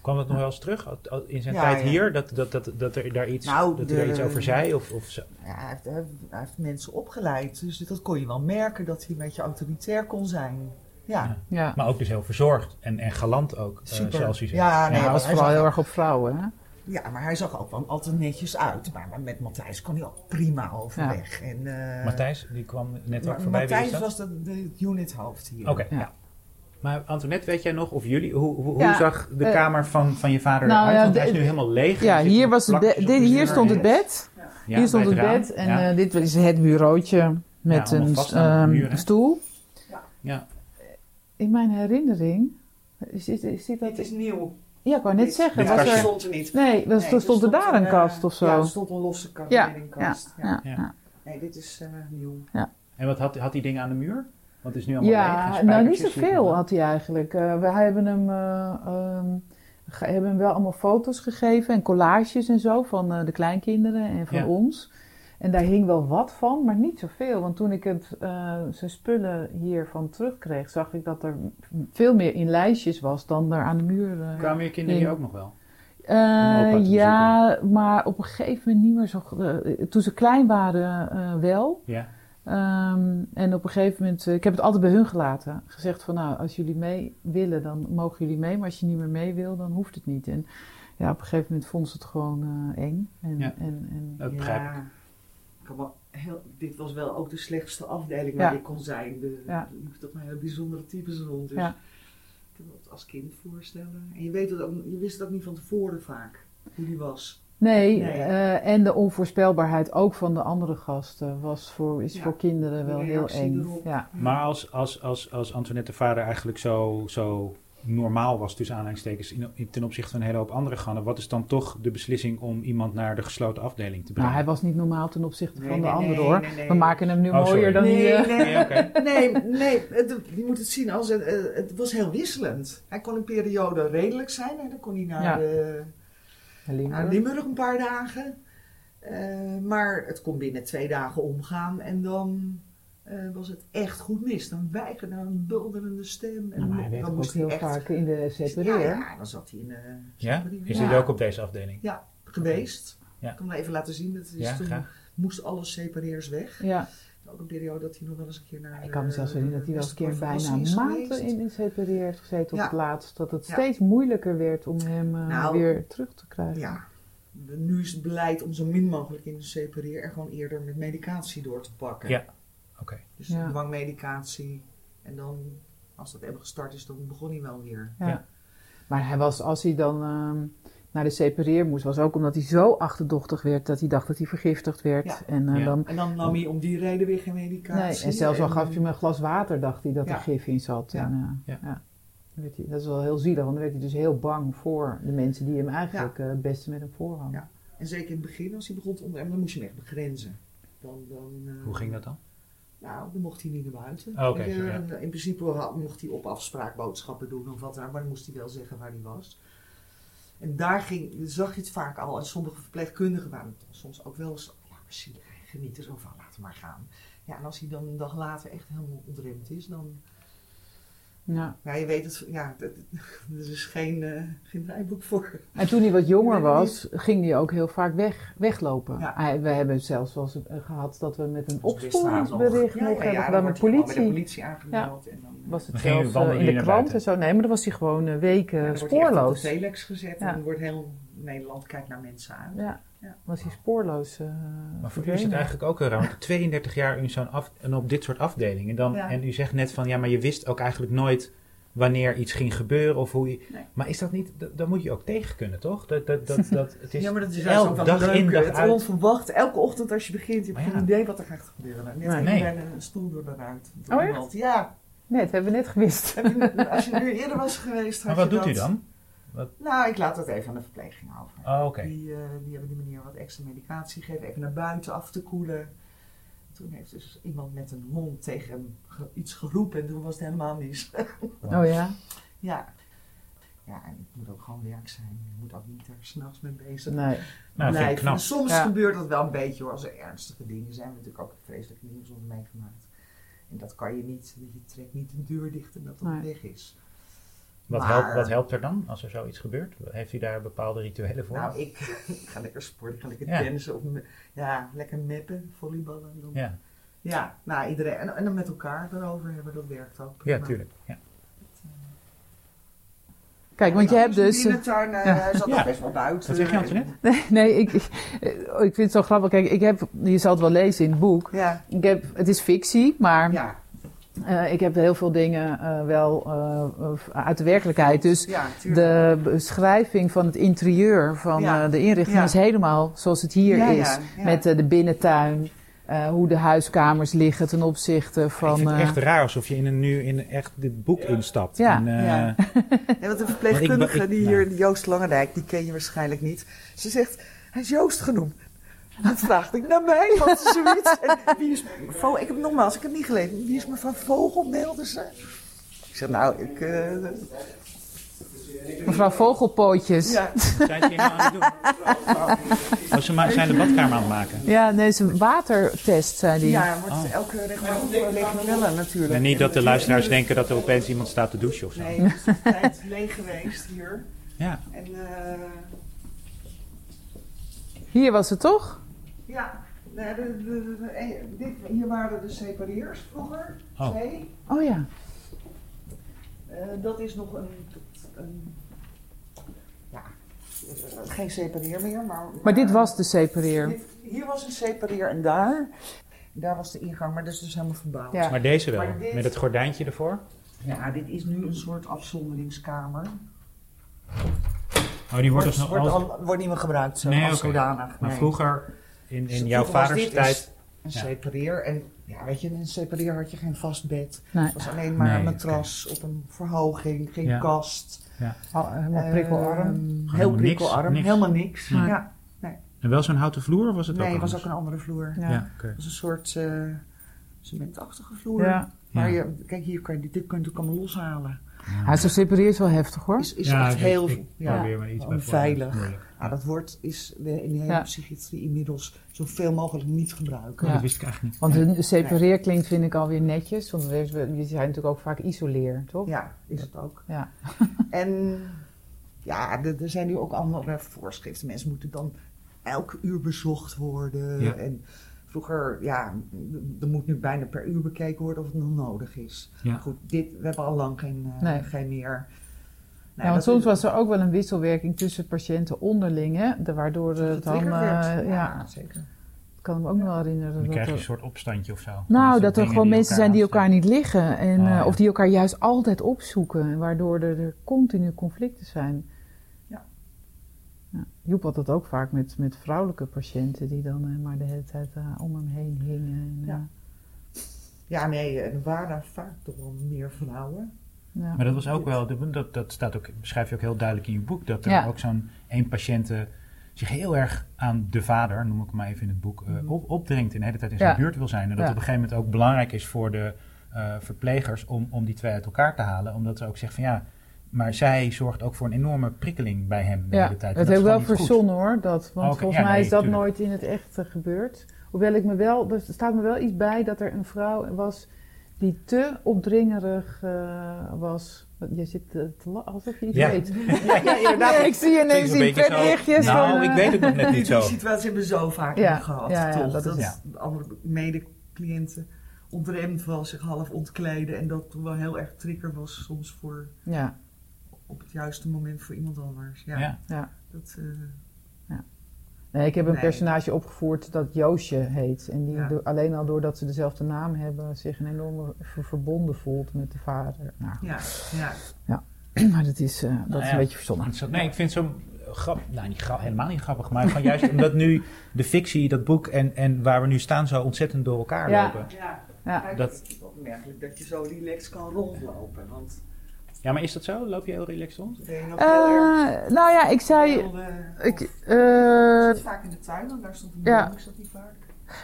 Speaker 3: Kwam dat nog wel eens terug Al- al- in zijn
Speaker 4: Ja,
Speaker 3: tijd
Speaker 4: ja.
Speaker 3: hier? Dat, dat, dat, dat er daar iets,
Speaker 4: Nou,
Speaker 3: dat hij daar
Speaker 4: de-
Speaker 3: iets over zei? Of, of zo?
Speaker 4: Ja, hij, heeft, hij heeft mensen opgeleid. Dus dat kon je wel merken. Dat hij een beetje autoritair kon zijn. Ja.
Speaker 3: Ja.
Speaker 2: Ja,
Speaker 3: Maar ook dus heel verzorgd en, en galant ook, eh,
Speaker 4: Super.
Speaker 3: zoals hij zegt.
Speaker 4: Ja, nee,
Speaker 2: hij
Speaker 4: maar
Speaker 2: was
Speaker 4: hij
Speaker 2: vooral
Speaker 4: zag-
Speaker 2: heel erg op vrouwen. Hè?
Speaker 4: Ja, maar hij zag ook wel altijd netjes uit. Maar maar met Matthijs kon hij ook prima overweg. En, eh,
Speaker 3: Matthijs, die kwam net ook
Speaker 4: Ma-
Speaker 3: voorbij. Wie is
Speaker 4: Matthijs
Speaker 3: dat?
Speaker 4: was dat- de unithoofd hier.
Speaker 3: Oké, ja.
Speaker 2: Ja.
Speaker 3: Maar Antoinette, weet jij nog, of jullie, hoe, hoe, hoe
Speaker 2: Ja,
Speaker 3: zag de
Speaker 2: eh,
Speaker 3: kamer van, van je vader
Speaker 2: nou
Speaker 3: eruit?
Speaker 2: ja,
Speaker 3: Want hij
Speaker 2: de-
Speaker 3: is nu helemaal leeg.
Speaker 2: Ja,
Speaker 3: Er zitten
Speaker 2: hier, was het
Speaker 3: plakjes
Speaker 2: bed-
Speaker 3: op
Speaker 2: dit,
Speaker 3: de
Speaker 2: hier
Speaker 3: muur
Speaker 2: stond
Speaker 3: en-
Speaker 2: het bed.
Speaker 3: Ja,
Speaker 2: hier stond
Speaker 3: bij
Speaker 2: het
Speaker 3: raam.
Speaker 2: bed en
Speaker 3: ja,
Speaker 2: eh, dit is het bureautje met
Speaker 3: allemaal
Speaker 2: een
Speaker 3: vast aan de
Speaker 2: ehm,
Speaker 3: muur, hè?
Speaker 2: stoel.
Speaker 3: ja.
Speaker 2: In mijn herinnering, is, is, is dit dat...
Speaker 4: Dit is nieuw.
Speaker 2: Ja, ik wou net
Speaker 4: Dit-
Speaker 2: zeggen.
Speaker 4: dit
Speaker 3: was
Speaker 2: was
Speaker 4: kastje
Speaker 3: er-
Speaker 4: stond er niet.
Speaker 2: nee, dat
Speaker 4: Nee,
Speaker 2: stond, er daar een
Speaker 4: eh,
Speaker 2: kast of zo.
Speaker 4: Ja, er stond een losse kast.
Speaker 2: Ja,
Speaker 4: een kast. Ja.
Speaker 2: ja,
Speaker 3: Ja.
Speaker 2: ja.
Speaker 4: Nee, dit is eh, nieuw.
Speaker 3: En wat had, had die dingen aan de muur? Want het is nu allemaal leeg.
Speaker 2: Ja,
Speaker 3: en
Speaker 2: nou niet
Speaker 3: spijkertjes
Speaker 2: zoveel
Speaker 3: hier.
Speaker 2: had hij eigenlijk. Eh, we hebben hem, eh, ehm, ge- hebben hem wel allemaal foto's gegeven en collages en zo van eh, de kleinkinderen en van
Speaker 3: Ja.
Speaker 2: ons. En daar hing wel wat van, maar niet zoveel. Want toen ik het, eh, zijn spullen hiervan terugkreeg, zag ik dat er veel meer in lijstjes was dan er aan de muur. eh,
Speaker 3: Kwamen je kinderen
Speaker 2: Ja.
Speaker 3: hier ook nog wel?
Speaker 2: eh,
Speaker 3: Om opa te
Speaker 2: ja, maar op een gegeven moment niet meer zo. gro- eh, toen ze klein waren, eh, wel.
Speaker 3: Ja.
Speaker 2: Ehm, en op een gegeven moment, eh, ik heb het altijd bij hun gelaten. Gezegd van nou, als jullie mee willen, dan mogen jullie mee. Maar als je niet meer mee wil, dan hoeft het niet. En ja, op een gegeven moment vonden ze het gewoon eh, eng. En,
Speaker 3: Ja.
Speaker 2: en, en,
Speaker 3: Dat begrijp ik.
Speaker 4: Ja. Ik kan wel heel- dit was wel ook de slechtste afdeling waar
Speaker 2: Ja.
Speaker 4: ik kon zijn. De,
Speaker 2: Ja.
Speaker 4: Er liepen toch maar hele bijzondere types rond. Dus
Speaker 2: Ja.
Speaker 4: ik kan me dat als kind voorstellen. En je, weet het ook, je wist het ook niet van tevoren vaak, hoe die was.
Speaker 2: nee,
Speaker 4: Nee.
Speaker 2: eh, en de onvoorspelbaarheid ook van de andere gasten was voor, is
Speaker 4: Ja.
Speaker 2: voor kinderen wel
Speaker 4: De
Speaker 2: heel
Speaker 4: reactie
Speaker 2: eng.
Speaker 4: erop.
Speaker 2: Ja.
Speaker 3: Maar als, als, als, als Antoinette de vader eigenlijk zo, zo normaal was, tussen aanhalingstekens, in, in- ten opzichte van een hele hoop andere gannen, wat is dan toch de beslissing om iemand naar de gesloten afdeling te
Speaker 2: Nou,
Speaker 3: brengen?
Speaker 2: hij was niet normaal ten opzichte
Speaker 4: Nee,
Speaker 2: van de
Speaker 4: nee,
Speaker 2: anderen
Speaker 4: nee,
Speaker 2: hoor.
Speaker 4: nee, nee.
Speaker 2: We maken hem nu
Speaker 3: Oh, sorry.
Speaker 2: mooier dan
Speaker 4: nee,
Speaker 2: die. eh,
Speaker 4: nee,
Speaker 3: Nee, oké.
Speaker 4: nee, nee, het- je moet het zien als het, eh, het was heel wisselend. Hij kon een periode redelijk zijn en dan kon hij naar,
Speaker 2: Ja.
Speaker 4: de,
Speaker 2: Limburg.
Speaker 4: naar Limburg een paar dagen. Eh, maar het kon binnen twee dagen omgaan en dan eh, was het echt goed mis. Dan weigerde hij een bulderende stem. En
Speaker 2: Nou, maar hij
Speaker 4: dan
Speaker 2: werd ook
Speaker 4: moest hij
Speaker 2: heel
Speaker 4: echt-
Speaker 2: vaak in de ZBD,
Speaker 4: Ja,
Speaker 2: hè?
Speaker 4: ja, dan zat hij in eh,
Speaker 3: Ja?
Speaker 4: Zeker.
Speaker 3: Is
Speaker 4: Ja.
Speaker 3: dit ook op deze afdeling?
Speaker 4: ja, geweest.
Speaker 3: Ja.
Speaker 4: Ik kan hem even laten zien. Dat is
Speaker 3: Ja,
Speaker 4: toen
Speaker 3: graag.
Speaker 4: moest alles separeers weg.
Speaker 2: Ja,
Speaker 4: Ook een periode dat hij nog wel eens een keer naar...
Speaker 2: ik kan me zelfs
Speaker 4: eh,
Speaker 2: herinneren dat hij wel eens een keer
Speaker 4: Westerbork
Speaker 2: bijna
Speaker 4: is
Speaker 2: maanden
Speaker 4: geweest.
Speaker 2: in een CPD heeft gezeten op
Speaker 4: Ja.
Speaker 2: het laatst. Dat het
Speaker 4: Ja.
Speaker 2: steeds moeilijker werd om hem eh,
Speaker 4: Nou,
Speaker 2: weer terug te krijgen.
Speaker 4: Ja. Nu is het beleid om zo min mogelijk in te separeren en gewoon eerder met medicatie door te pakken.
Speaker 3: Ja. Oké.
Speaker 4: Dus
Speaker 2: Ja.
Speaker 4: dwangmedicatie. En dan, als dat helemaal gestart is, dan begon hij wel weer.
Speaker 2: Ja.
Speaker 3: Ja.
Speaker 2: Maar hij was, als hij dan ehm, naar de separeer moest, was ook omdat hij zo achterdochtig werd dat hij dacht dat hij vergiftigd werd.
Speaker 4: Ja.
Speaker 2: En, eh,
Speaker 3: Ja.
Speaker 2: dan,
Speaker 4: En dan nam hij om die reden weer geen medicatie.
Speaker 2: nee, en zelfs al gaf je hem een glas water, dacht hij dat
Speaker 4: eh, Ja.
Speaker 2: er gif in zat.
Speaker 4: Ja.
Speaker 2: En, eh,
Speaker 3: Ja.
Speaker 2: ja. Dan werd hij, dat is wel heel zielig, want dan werd hij dus heel bang voor de mensen die hem eigenlijk eh, het beste met hem voorhangen.
Speaker 4: Ja. En zeker in het begin, als hij begon te ondernemen, dan moest je hem echt begrenzen. Dan, dan, eh,
Speaker 3: Hoe ging dat dan?
Speaker 4: Nou, dan mocht hij niet naar buiten.
Speaker 3: Oh, oké,
Speaker 4: En, eh,
Speaker 3: zo, ja.
Speaker 4: en In principe had- mocht hij op afspraak boodschappen doen of wat dan ook, maar dan moest hij wel zeggen waar hij was. En daar ging, zag je het vaak al. En sommige verpleegkundigen waren het soms ook wel eens, ja, maar zie je, hij geniet er zo van, laat hem maar gaan. Ja, en als hij dan een dag later echt helemaal ontremd is, dan...
Speaker 2: Ja.
Speaker 4: Ja, je weet het, ja, dat- er is geen, eh geen draaiboek voor.
Speaker 2: En toen hij wat jonger
Speaker 4: Ik weet het
Speaker 2: was, ging hij ook heel vaak weg, weglopen.
Speaker 4: Ja.
Speaker 2: Hij- we hebben zelfs wel eens eh, gehad dat we met een
Speaker 4: bericht
Speaker 2: opsporingsbericht nog hebben gedaan met
Speaker 4: Bij de
Speaker 2: politie.
Speaker 4: politie aangemeld. En dan, eh,
Speaker 2: Was het
Speaker 3: Dan gingen we
Speaker 2: zelfs eh,
Speaker 3: wandelen
Speaker 2: in de
Speaker 3: hier naar
Speaker 2: krant
Speaker 3: buiten.
Speaker 2: en zo. Nee, maar dan was hij gewoon eh, weken
Speaker 4: Ja, dan wordt hij echt op de
Speaker 2: spoorloos.
Speaker 4: telex gezet
Speaker 2: Ja.
Speaker 4: en dan wordt heel Nederland kijkt naar mensen aan.
Speaker 2: Ja,
Speaker 4: Ja.
Speaker 2: was hij spoorloos. eh,
Speaker 3: Maar voor u is
Speaker 2: verdwenen.
Speaker 3: het eigenlijk ook heel raar. want 32 jaar in zo'n af, en op dit soort afdelingen. Dan,
Speaker 4: Ja.
Speaker 3: En u zegt net van ja, maar je wist ook eigenlijk nooit wanneer iets ging gebeuren of hoe je.
Speaker 4: Nee.
Speaker 3: Maar is dat niet. Dat, dat moet je ook tegen kunnen, toch? Dat, dat, dat, dat, het is
Speaker 4: Ja, maar dat is
Speaker 3: elk
Speaker 4: juist ook wel
Speaker 3: dag
Speaker 4: leuk.
Speaker 3: in, dag
Speaker 4: het
Speaker 3: uit.
Speaker 4: onverwacht. Elke ochtend als je begint, heb je
Speaker 3: Maar
Speaker 4: geen
Speaker 3: ja.
Speaker 4: idee wat er gaat gebeuren. Net
Speaker 2: Nee.
Speaker 4: ging
Speaker 3: Nee.
Speaker 4: bijna een stoel door de ruit. door
Speaker 2: Oh, echt?
Speaker 4: iemand. Ja.
Speaker 2: Nee, dat hebben we net gewist.
Speaker 4: Heb je- Als je nu eerder was geweest,
Speaker 3: Maar
Speaker 4: had
Speaker 3: wat
Speaker 4: je
Speaker 3: doet u
Speaker 4: dat-
Speaker 3: dan?
Speaker 4: Nou, ik laat dat even aan de verpleging over.
Speaker 3: Oh, oké.
Speaker 4: Die, eh, die hebben die meneer wat extra medicatie gegeven, even naar buiten af te koelen. Toen heeft dus iemand met een hond tegen hem ge- iets geroepen en toen was het helemaal mis.
Speaker 2: Oh ja.
Speaker 4: Ja. Ja, en ik moet ook gewoon werk zijn. Ik moet ook niet er s'nachts mee bezig
Speaker 2: Nee.
Speaker 3: Nou, dat vind ik
Speaker 4: blijven.
Speaker 3: knap.
Speaker 4: En soms
Speaker 2: Ja.
Speaker 4: gebeurt dat wel een beetje hoor. Als er ernstige dingen zijn, we natuurlijk ook vreselijk nieuws onder meegemaakt. En dat kan je niet, je trekt niet de deur dicht en dat dat
Speaker 2: Nee.
Speaker 4: weg is.
Speaker 3: Wat,
Speaker 4: Maar-
Speaker 3: helpt, wat helpt er dan als er zoiets gebeurt? Heeft u daar bepaalde rituelen voor?
Speaker 4: Nou, ik, ik ga lekker sporten, ik ga lekker
Speaker 3: Ja.
Speaker 4: tennissen of me- ja, lekker meppen, volleyballen. Dan. Ja.
Speaker 3: ja.
Speaker 4: nou iedereen. En, en dan met elkaar erover hebben, dat werkt ook.
Speaker 3: ja,
Speaker 4: prima.
Speaker 3: tuurlijk. Ja.
Speaker 2: Kijk, want je
Speaker 4: Nou,
Speaker 2: hebt dus...
Speaker 4: Die tuin
Speaker 2: ja.
Speaker 4: zat
Speaker 3: Ja.
Speaker 4: nog best wel buiten.
Speaker 3: Wat zeg je, Antoinette?
Speaker 2: Nee, ik, ik, eh, ik vind het zo grappig. Kijk, ik heb, je zal het wel lezen in het boek.
Speaker 4: Ja,
Speaker 2: Ik heb, het is fictie, maar
Speaker 4: ja,
Speaker 2: eh, ik heb heel veel dingen eh, wel eh, uit de werkelijkheid. Dus
Speaker 4: ja, tuurlijk.
Speaker 2: de beschrijving van het interieur van
Speaker 4: Ja.
Speaker 2: eh, de inrichting
Speaker 4: Ja.
Speaker 2: is helemaal zoals het hier
Speaker 4: Ja, ja,
Speaker 2: is.
Speaker 4: ja.
Speaker 2: Met eh, de binnentuin, eh, hoe de huiskamers liggen ten opzichte
Speaker 3: ik
Speaker 2: van...
Speaker 3: vind het
Speaker 2: eh,
Speaker 3: echt raar alsof je in een, nu in echt dit boek instapt.
Speaker 2: Ja.
Speaker 3: En, eh,
Speaker 4: Ja. Ja, want de
Speaker 3: Want ik
Speaker 4: verpleegkundige
Speaker 3: be- ik-
Speaker 4: die
Speaker 3: nou.
Speaker 4: hier, die Joost Langendijk, die ken je waarschijnlijk niet. Ze zegt, hij is Joost genoemd. Dat vraagde ik naar mij, wat is zoiets? En wie is Vogel? Ik heb nogmaals, ik heb niet gelezen. Wie is mevrouw Vogel, mailde ze. Ik zeg, nou, ik... eh,
Speaker 2: eh, Mevrouw Vogelpootjes. Ja,
Speaker 4: ja,
Speaker 3: Wat zijn ze hier nou aan het doen? Oh, ze ma- zijn de badkamer aan het maken.
Speaker 2: nee, het is een watertest, zei die.
Speaker 4: ja, wordt elke regelmatig legionella natuurlijk.
Speaker 3: Oh. En niet dat de luisteraars denken dat er opeens iemand staat te douchen of zo.
Speaker 4: Nee, het is een tijd leeg geweest hier.
Speaker 3: Ja.
Speaker 4: En eh,
Speaker 2: Hier was het toch?
Speaker 4: ja, nou, de- de- de- de- eh, dit, hier waren de separeers vroeger,
Speaker 3: Oh.
Speaker 4: twee.
Speaker 2: Oh ja.
Speaker 4: Eh, dat is nog een. een ja, eh, geen separeer meer. Maar,
Speaker 2: Maar dit was de separeer.
Speaker 4: Dit- hier was een separeer en daar. Daar was de ingang, maar dat is dus helemaal verbouwd.
Speaker 2: Ja.
Speaker 3: Maar deze wel,
Speaker 4: Maar dit-
Speaker 3: met het gordijntje ervoor.
Speaker 4: Ja, dit is nu een soort afzonderingskamer.
Speaker 3: Oh, die wordt dus nog
Speaker 4: wordt,
Speaker 3: altijd...
Speaker 4: al- wordt niet meer gebruikt zo,
Speaker 3: Nee,
Speaker 4: als
Speaker 3: oké.
Speaker 4: zodanig.
Speaker 3: Maar
Speaker 4: nee.
Speaker 3: vroeger, in,
Speaker 4: Dus
Speaker 3: in
Speaker 4: vroeger
Speaker 3: jouw
Speaker 4: was
Speaker 3: vaders
Speaker 4: dit
Speaker 3: tijd...
Speaker 4: Een
Speaker 3: Ja.
Speaker 4: separeer. En ja, weet je, in een separeer had je geen vast bed.
Speaker 2: Nee,
Speaker 4: Het was alleen maar
Speaker 3: Nee,
Speaker 4: een
Speaker 3: oké.
Speaker 4: matras op een verhoging, geen
Speaker 3: Ja.
Speaker 4: kast.
Speaker 2: al- helemaal prikkelarm.
Speaker 4: Ehm, heel
Speaker 3: helemaal niks,
Speaker 4: prikkelarm,
Speaker 3: niks.
Speaker 4: helemaal niks.
Speaker 3: Nee.
Speaker 4: Ja.
Speaker 3: En wel zo'n houten vloer of was het
Speaker 4: Nee,
Speaker 3: ook
Speaker 4: het was ook
Speaker 3: anders?
Speaker 4: een andere vloer.
Speaker 2: Ja.
Speaker 3: Ja, oké.
Speaker 4: Het was een soort eh, cementachtige vloer.
Speaker 2: Ja.
Speaker 4: Maar
Speaker 3: Ja.
Speaker 4: je, kijk, hier kan je, dit kun je natuurlijk allemaal loshalen.
Speaker 2: Hij is een separeer is wel heftig hoor.
Speaker 4: Is, is
Speaker 3: Ja,
Speaker 4: echt
Speaker 3: ik-
Speaker 4: heel...
Speaker 3: ik
Speaker 4: ja.
Speaker 3: probeer maar iets bij voor-
Speaker 4: onveilig.
Speaker 3: moeilijk.
Speaker 4: Ja, dat woord is in de hele
Speaker 2: Ja.
Speaker 4: psychiatrie inmiddels zoveel mogelijk niet gebruiken.
Speaker 2: Ja.
Speaker 3: Dat wist ik eigenlijk niet.
Speaker 2: Want een separeer klinkt vind ik alweer netjes. Want we we- we zijn natuurlijk ook vaak isoleer, toch?
Speaker 4: Ja, is het ook.
Speaker 2: Ja.
Speaker 4: En ja, er er zijn nu ook andere voorschriften. Mensen moeten dan elk uur bezocht worden.
Speaker 3: Ja.
Speaker 4: En vroeger, ja, er moet nu bijna per uur bekeken worden of het nog nodig is.
Speaker 3: Ja.
Speaker 4: Goed, dit, we hebben al lang geen, eh,
Speaker 2: Nee.
Speaker 4: geen meer. Nou,
Speaker 2: Ja, want soms was er ook wel een wisselwerking tussen patiënten onderling, hè? De- waardoor het dan... eh, ja,
Speaker 4: zeker.
Speaker 2: ik kan me ook nog wel herinneren.
Speaker 3: Dan
Speaker 2: dat
Speaker 3: krijg je
Speaker 2: er-
Speaker 3: een soort opstandje of zo.
Speaker 2: Nou, dat, er
Speaker 3: dingen
Speaker 2: gewoon
Speaker 3: die
Speaker 2: mensen zijn die elkaar
Speaker 3: aanstaan.
Speaker 2: niet liggen. En,
Speaker 3: Oh,
Speaker 2: eh,
Speaker 3: ja.
Speaker 2: Of die elkaar juist altijd opzoeken. en Waardoor er, er continu conflicten zijn.
Speaker 4: Ja.
Speaker 2: Ja. Joep had dat ook vaak met, met vrouwelijke patiënten die dan eh, maar de hele tijd eh, om hem heen hingen. En,
Speaker 4: Ja.
Speaker 2: ja.
Speaker 4: Ja, nee, eh, er waren daar vaak toch wel meer vrouwen.
Speaker 2: eh, ja.
Speaker 3: Maar dat was ook wel, dat, dat staat ook, beschrijf je ook heel duidelijk in je boek, dat er
Speaker 2: Ja.
Speaker 3: ook zo'n één patiënt eh, zich heel erg aan de vader, noem ik hem maar even in het boek, eh, op, opdringt en de hele tijd in zijn
Speaker 2: Mhm. Ja.
Speaker 3: buurt wil zijn. En dat
Speaker 2: Ja.
Speaker 3: op een gegeven moment ook belangrijk is voor de eh, verplegers om, om die twee uit elkaar te halen. Omdat ze ook zegt van ja, maar zij zorgt ook voor een enorme prikkeling bij hem de
Speaker 2: Ja,
Speaker 3: hele tijd.
Speaker 2: het
Speaker 3: En dat
Speaker 2: heeft
Speaker 3: is
Speaker 2: wel
Speaker 3: gewoon niet goed. Oh,
Speaker 2: verzonnen hoor. Dat, want
Speaker 3: Oké,
Speaker 2: volgens
Speaker 3: ja,
Speaker 2: mij
Speaker 3: nee,
Speaker 2: is dat
Speaker 3: tuurlijk.
Speaker 2: nooit in het echt eh, gebeurd. Hoewel ik me wel, er staat me wel iets bij dat er een vrouw was die te opdringerig eh, was. Je zit eh, te, te la- alsof je iets
Speaker 5: Ja.
Speaker 2: weet.
Speaker 3: Ja, ja, inderdaad.
Speaker 2: Nee, ik zie je
Speaker 5: Klinkt
Speaker 2: ineens
Speaker 5: een
Speaker 2: die
Speaker 5: beetje zo-
Speaker 2: pretlichtjes van...
Speaker 5: Nou,
Speaker 2: eh,
Speaker 5: ik weet het nog net
Speaker 4: Die
Speaker 5: niet zo.
Speaker 4: situatie hebben we zo vaak
Speaker 2: Ja,
Speaker 4: nog gehad,
Speaker 2: ja, ja,
Speaker 4: toch?
Speaker 2: dat
Speaker 4: Dat,
Speaker 2: is-
Speaker 4: andere medecliënten ontremd was, zich half ontkleden. En dat toen wel heel erg trigger was soms voor,
Speaker 2: Ja,
Speaker 4: op het juiste moment voor iemand anders. Ja,
Speaker 3: Ja.
Speaker 2: ja.
Speaker 4: Dat, eh,
Speaker 2: Nee, ik heb een
Speaker 4: Nee.
Speaker 2: personage opgevoerd dat Joosje heet. En die
Speaker 4: Ja.
Speaker 2: do- alleen al doordat ze dezelfde naam hebben... zich een enorme ver- verbonden voelt met de vader. Nou,
Speaker 4: ja, ja.
Speaker 2: maar dat is, eh, dat
Speaker 3: Nou
Speaker 2: is
Speaker 3: ja.
Speaker 2: een beetje verzonnen.
Speaker 3: Zo- Nee, ik vind zo'n grap, nou niet grap, helemaal niet grappig, maar gewoon juist omdat nu de fictie, dat boek en, en waar we nu staan zo ontzettend door elkaar
Speaker 2: Ja.
Speaker 3: lopen.
Speaker 4: Ja,
Speaker 2: Ja.
Speaker 4: maar
Speaker 3: Dat-
Speaker 4: het is opmerkelijk dat je zo relaxed kan rondlopen. Want
Speaker 3: Ja, maar is dat zo? Loop je heel relaxed rond?
Speaker 4: dat deed je nog heel erg.
Speaker 2: Eh, nou ja, ik zei...
Speaker 4: heel, eh,
Speaker 2: Ik,
Speaker 4: ik
Speaker 2: eh,
Speaker 4: zat vaak in de tuin, want daar stond een
Speaker 2: Ja.
Speaker 4: boom, is dat niet vaak?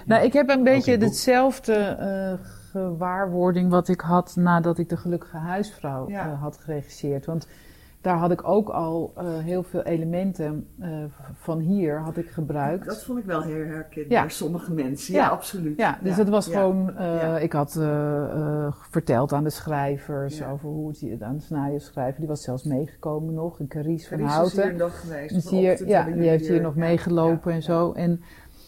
Speaker 2: nou, ik heb een beetje
Speaker 3: boek.
Speaker 2: hetzelfde eh, gewaarwording wat ik had nadat ik de gelukkige huisvrouw
Speaker 4: Ja.
Speaker 2: eh, had geregisseerd. Want daar had ik ook al eh, heel veel elementen eh, v- van hier had ik gebruikt.
Speaker 4: Dat vond ik wel heel herkenbaar,
Speaker 2: Ja.
Speaker 4: sommige mensen. Ja,
Speaker 2: Ja.
Speaker 4: absoluut.
Speaker 2: ja, dus dat was
Speaker 4: ja.
Speaker 2: gewoon, eh,
Speaker 4: Ja.
Speaker 2: ik had eh, eh, verteld aan de schrijvers
Speaker 4: Ja.
Speaker 2: over hoe het hier- aan de scenario schrijver, die was zelfs meegekomen nog, in Caries van
Speaker 4: Er is dus hier
Speaker 2: Houten.
Speaker 4: een dag geweest.
Speaker 2: Dus hier,
Speaker 4: vanochtend
Speaker 2: ja,
Speaker 4: hebben
Speaker 2: die
Speaker 4: jullie
Speaker 2: heeft hier nog
Speaker 4: ja,
Speaker 2: meegelopen
Speaker 4: ja,
Speaker 2: en zo. En,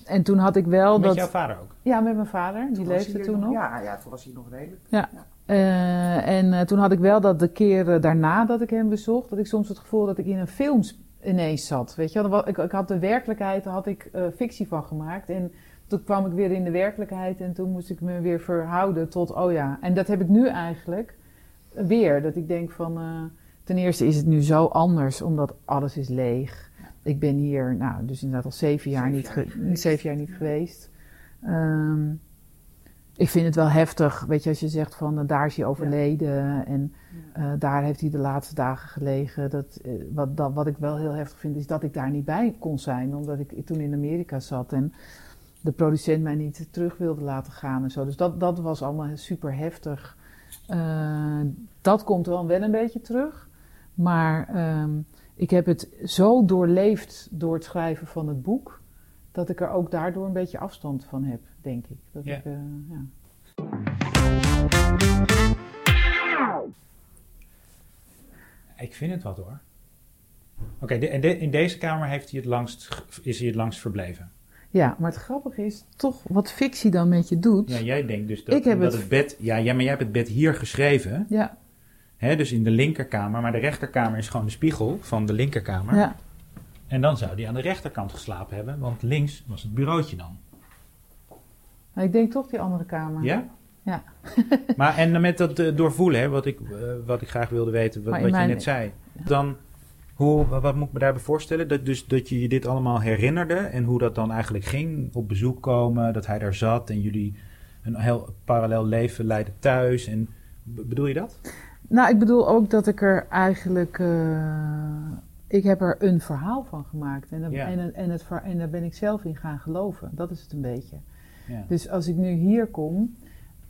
Speaker 2: en toen had ik wel
Speaker 3: Met
Speaker 2: dat.
Speaker 3: jouw vader ook.
Speaker 2: Ja, met mijn vader, die
Speaker 4: was
Speaker 2: leefde
Speaker 4: hier
Speaker 2: toen nog.
Speaker 4: Ja, ja, toen was hij nog redelijk.
Speaker 2: Eh, en eh, toen had ik wel dat de keer eh, daarna dat ik hem bezocht, dat ik soms het gevoel dat ik in een film s- ineens zat. Weet je, wel. Wa- ik, ik had de werkelijkheid, daar had ik eh, fictie van gemaakt. En toen kwam ik weer in de werkelijkheid en toen moest ik me weer verhouden tot, oh ja. En dat heb ik nu eigenlijk weer. Dat ik denk van, eh, ten eerste is het nu zo anders, omdat alles is leeg. Ik ben hier, nou, dus inderdaad al zeven jaar,
Speaker 4: Zeven
Speaker 2: niet,
Speaker 4: jaar
Speaker 2: ge-
Speaker 4: niet geweest.
Speaker 2: zeven jaar niet geweest. Ehm, ik vind het wel heftig, weet je, als je zegt van eh, daar is hij overleden en eh, daar heeft hij de laatste dagen gelegen. Dat, eh, wat, dat, wat ik wel heel heftig vind is dat ik daar niet bij kon zijn, omdat ik toen in Amerika zat en de producent mij niet terug wilde laten gaan en zo. Dus dat, dat was allemaal super heftig. Eh, dat komt dan wel een beetje terug, maar ehm, ik heb het zo doorleefd door het schrijven van het boek, dat ik er ook daardoor een beetje afstand van heb, denk ik. Dat
Speaker 3: Ja.
Speaker 2: ik eh, ja.
Speaker 3: Ik vind het wat hoor. Oké, de- en de- in deze kamer heeft hij het langst, ge- is hij het langst verbleven.
Speaker 2: Ja, maar het grappige is toch wat fictie dan met je doet.
Speaker 3: Ja,
Speaker 2: Ja,
Speaker 3: jij denkt dus dat,
Speaker 2: Ik heb
Speaker 3: omdat
Speaker 2: het-
Speaker 3: het bed... Ja, ja, maar jij hebt het bed hier geschreven,
Speaker 2: ja,
Speaker 3: hè, dus in de linkerkamer. Maar de rechterkamer is gewoon de spiegel van de linkerkamer.
Speaker 2: ja,
Speaker 3: En dan zou hij aan de rechterkant geslapen hebben, want links was het bureautje dan.
Speaker 2: Maar Ik denk toch die andere kamer.
Speaker 3: Ja?
Speaker 2: Ja.
Speaker 3: maar en met dat eh, doorvoelen, hè, wat, ik, eh, wat ik graag wilde weten, wat,
Speaker 2: Maar in
Speaker 3: wat je
Speaker 2: mijn-
Speaker 3: net zei. Dan, hoe, wa- wat moet ik me daarbij voorstellen? Dat, dus, dat je je dit allemaal herinnerde en hoe dat dan eigenlijk ging. Op bezoek komen, dat hij daar zat en jullie een heel parallel leven leiden thuis. En, b- bedoel je dat?
Speaker 2: Nou, ik bedoel ook dat ik er eigenlijk. eh, ik heb er een verhaal van gemaakt. En, daar-
Speaker 3: Ja.
Speaker 2: en, en, het, ver- en daar ben ik zelf in gaan geloven. Dat is het een beetje.
Speaker 3: Ja.
Speaker 2: Dus als ik nu hier kom,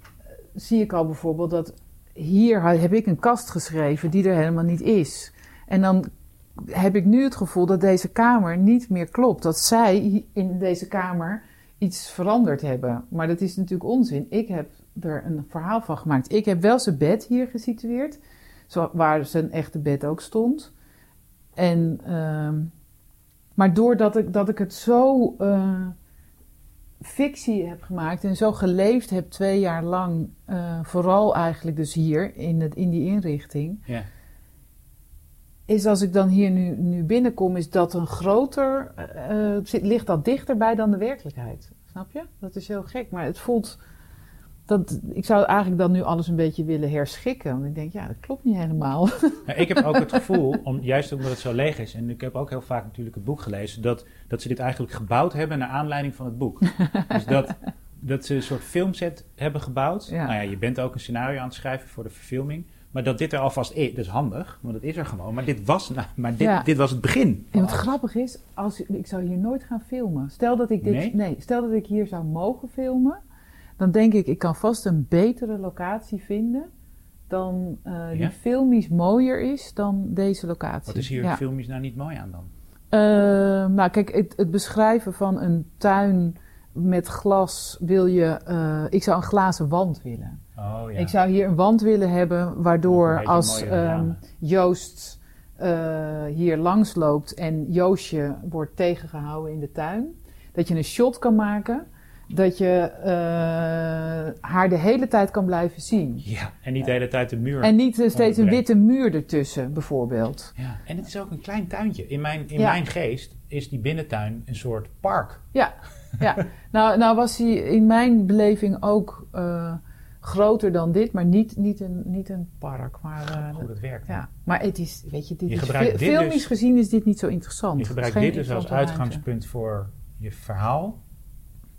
Speaker 2: eh, zie ik al bijvoorbeeld dat hier ha- heb ik een kast geschreven die er helemaal niet is. En dan heb ik nu het gevoel dat deze kamer niet meer klopt. Dat zij hi- in deze kamer iets veranderd hebben. Maar dat is natuurlijk onzin. Ik heb er een verhaal van gemaakt. Ik heb wel zijn bed hier gesitueerd, zo- waar zijn echte bed ook stond. En, ehm, maar doordat ik, dat ik het zo. eh, fictie heb gemaakt en zo geleefd heb twee jaar lang, eh, vooral eigenlijk dus hier in, het, in die inrichting,
Speaker 3: Ja.
Speaker 2: is als ik dan hier nu, nu binnenkom, is dat een groter, eh, eh, zit, ligt dat dichterbij dan de werkelijkheid. Snap je? Dat is heel gek, maar het voelt, dat, ik zou eigenlijk dan nu alles een beetje willen herschikken. Want ik denk, ja, dat klopt niet helemaal.
Speaker 3: Nou, ik heb ook het gevoel, om, juist omdat het zo leeg is, en ik heb ook heel vaak natuurlijk het boek gelezen, dat, dat ze dit eigenlijk gebouwd hebben naar aanleiding van het boek. Dus dat, dat ze een soort filmset hebben gebouwd.
Speaker 2: Ja.
Speaker 3: Nou ja, je bent ook een scenario aan het schrijven voor de verfilming. Maar dat dit er alvast is, dat is handig, want dat is er gewoon. Maar dit was, nou, maar dit,
Speaker 2: Ja.
Speaker 3: dit was het begin.
Speaker 2: En wat grappig is, als, ik zou hier nooit gaan filmen. Stel dat, ik dit,
Speaker 3: Nee?
Speaker 2: nee? stel dat ik hier zou mogen filmen, dan denk ik, ik kan vast een betere locatie vinden dan eh, die
Speaker 3: Ja?
Speaker 2: filmisch mooier is dan deze locatie.
Speaker 3: Wat is hier
Speaker 2: Ja.
Speaker 3: filmisch nou niet mooi aan dan?
Speaker 2: Eh, nou, kijk, het, het beschrijven van een tuin met glas wil je. eh, ik zou een glazen wand willen.
Speaker 3: Oh ja.
Speaker 2: Ik zou hier een wand willen hebben, waardoor
Speaker 3: Een
Speaker 2: als
Speaker 3: beetje mooie
Speaker 2: ehm,
Speaker 3: ramen.
Speaker 2: Joost eh, hier langs loopt en Joostje wordt tegengehouden in de tuin, dat je een shot kan maken. Dat je eh, haar de hele tijd kan blijven zien.
Speaker 3: ja. En niet de hele tijd de muur.
Speaker 2: En niet eh, steeds een
Speaker 3: Onderbrengen.
Speaker 2: witte muur ertussen, bijvoorbeeld.
Speaker 3: Ja, en het is ook een klein tuintje. In mijn, in
Speaker 2: Ja.
Speaker 3: mijn geest is die binnentuin een soort park.
Speaker 2: Ja, ja. Nou, nou was hij in mijn beleving ook eh, groter dan dit, maar niet, niet, een, niet een park. Maar, eh,
Speaker 3: Goed, dat werkt.
Speaker 2: ja. maar het is, weet je, dit
Speaker 3: Je
Speaker 2: is
Speaker 3: gebruikt
Speaker 2: fi-
Speaker 3: dit
Speaker 2: filmisch
Speaker 3: dus-
Speaker 2: gezien is dit niet zo interessant.
Speaker 3: Je gebruikt
Speaker 2: Het is
Speaker 3: dit
Speaker 2: geen
Speaker 3: dus als
Speaker 2: interessante
Speaker 3: uitgangspunt voor je verhaal.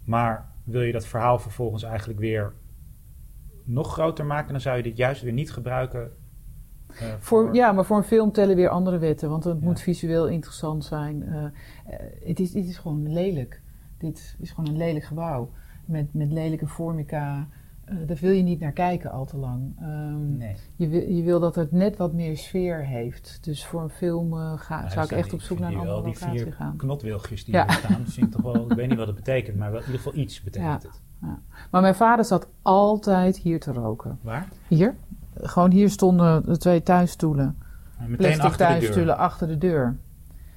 Speaker 3: Maar wil je dat verhaal vervolgens eigenlijk weer nog groter maken, dan zou je dit juist weer niet gebruiken. eh,
Speaker 2: ruimte. Voor, ja, maar voor een film tellen weer andere wetten, want het
Speaker 3: Ja.
Speaker 2: moet visueel interessant zijn. Eh, eh, het, is, dit is gewoon lelijk. Dit is gewoon een lelijk gebouw met, met lelijke formica. Eh, daar wil je niet naar kijken al te lang. Ehm,
Speaker 3: Nee. Nou,
Speaker 2: Je wil, je wil dat het net wat meer sfeer heeft. Dus voor een film eh, ga,
Speaker 3: Nou,
Speaker 2: zou
Speaker 3: dus
Speaker 2: ik
Speaker 3: dan-
Speaker 2: echt op zoek
Speaker 3: vind
Speaker 2: naar een
Speaker 3: die wel,
Speaker 2: andere
Speaker 3: Die
Speaker 2: locatie
Speaker 3: vier
Speaker 2: gaan.
Speaker 3: knotwilgjes die
Speaker 2: Ja.
Speaker 3: hier staan, vind ik toch wel, ik weet niet wat het betekent, maar wel, in ieder geval iets betekent
Speaker 2: Ja.
Speaker 3: het.
Speaker 2: Maar mijn vader zat altijd hier te roken.
Speaker 3: Waar?
Speaker 2: Hier? Gewoon hier stonden de twee tuinstoelen.
Speaker 3: Maar Meteen
Speaker 2: Plastic
Speaker 3: achter de deur.
Speaker 2: tuinstoelen achter de deur.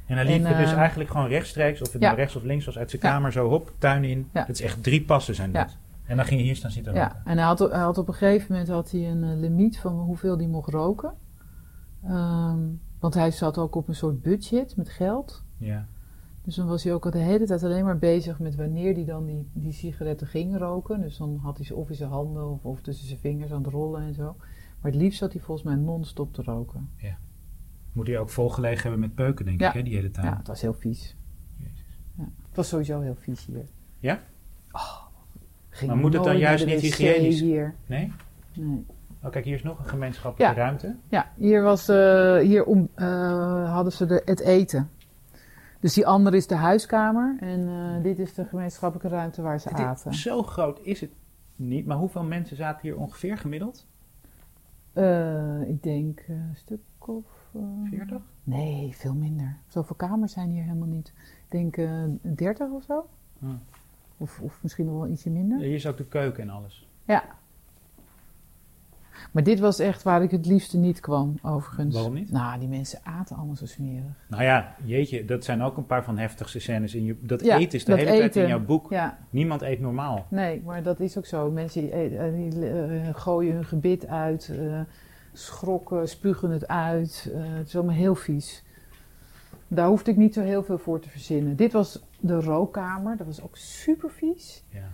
Speaker 3: En hij
Speaker 2: En,
Speaker 3: liep er dus
Speaker 2: eh,
Speaker 3: eigenlijk gewoon rechtstreeks, of het
Speaker 2: ja.
Speaker 3: nou rechts of links was, uit zijn
Speaker 2: Ja.
Speaker 3: kamer zo hop, tuin in.
Speaker 2: Ja.
Speaker 3: Dat is echt drie passen zijn dat. En dan ging hij hier staan zitten
Speaker 2: Ja,
Speaker 3: roken.
Speaker 2: en hij had, hij had op een gegeven moment had hij een eh, limiet van hoeveel hij mocht roken. Ehm, want hij zat ook op een soort budget met geld.
Speaker 3: Ja.
Speaker 2: Dus dan was hij ook al de hele tijd alleen maar bezig met wanneer hij dan die, die sigaretten ging roken. Dus dan had hij ze of in zijn handen of, of tussen zijn vingers aan het rollen en zo. Maar het liefst zat hij volgens mij non-stop te roken.
Speaker 3: Moet hij ook volgelegen hebben met peuken, denk
Speaker 2: Ja.
Speaker 3: ik, hè, die hele
Speaker 2: Ja,
Speaker 3: tuin.
Speaker 2: het was heel vies.
Speaker 3: Nou. Jezus.
Speaker 2: Ja. Het was sowieso heel vies hier.
Speaker 3: Ja?
Speaker 2: Oh, ging
Speaker 3: Maar moet het dan
Speaker 2: nooit naar
Speaker 3: juist
Speaker 2: de
Speaker 3: niet
Speaker 2: wc
Speaker 3: hygiënisch?
Speaker 2: Hier.
Speaker 3: Nee?
Speaker 2: Nee.
Speaker 3: Oh, kijk, hier is nog een gemeenschappelijke ruimte.
Speaker 2: Ja, hier, was, eh, hier om, eh, hadden ze de, het eten. Dus die andere is de huiskamer en eh, dit is de gemeenschappelijke ruimte waar ze
Speaker 3: Het is-
Speaker 2: aten.
Speaker 3: zo groot is het niet, maar hoeveel mensen zaten hier ongeveer gemiddeld?
Speaker 2: Eh, ik denk eh, een stuk of. eh,
Speaker 3: 40?
Speaker 2: Nee, veel minder. Zoveel kamers zijn hier helemaal niet. Ik denk eh 30 of zo.
Speaker 3: Hmm.
Speaker 2: Of, of misschien nog wel ietsje minder.
Speaker 3: Hier is ook de keuken en alles.
Speaker 2: Ja. Maar dit was echt waar ik het liefste niet kwam, overigens.
Speaker 3: Waarom niet?
Speaker 2: Nou, die mensen aten allemaal zo smerig.
Speaker 3: Nou ja, jeetje, dat zijn ook een paar van heftigste scènes. In je, dat
Speaker 2: Ja,
Speaker 3: eten is de
Speaker 2: dat
Speaker 3: hele tijd in
Speaker 2: eten.
Speaker 3: jouw boek.
Speaker 2: Ja,
Speaker 3: Niemand eet normaal.
Speaker 2: nee, maar dat is ook zo. Mensen die, eh, eh, die, eh, gooien hun gebit uit, eh, schrokken, spugen het uit. Eh, het is allemaal heel vies. Daar hoefde ik niet zo heel veel voor te verzinnen. Dit was de rookkamer, dat was ook super vies.
Speaker 3: Ja.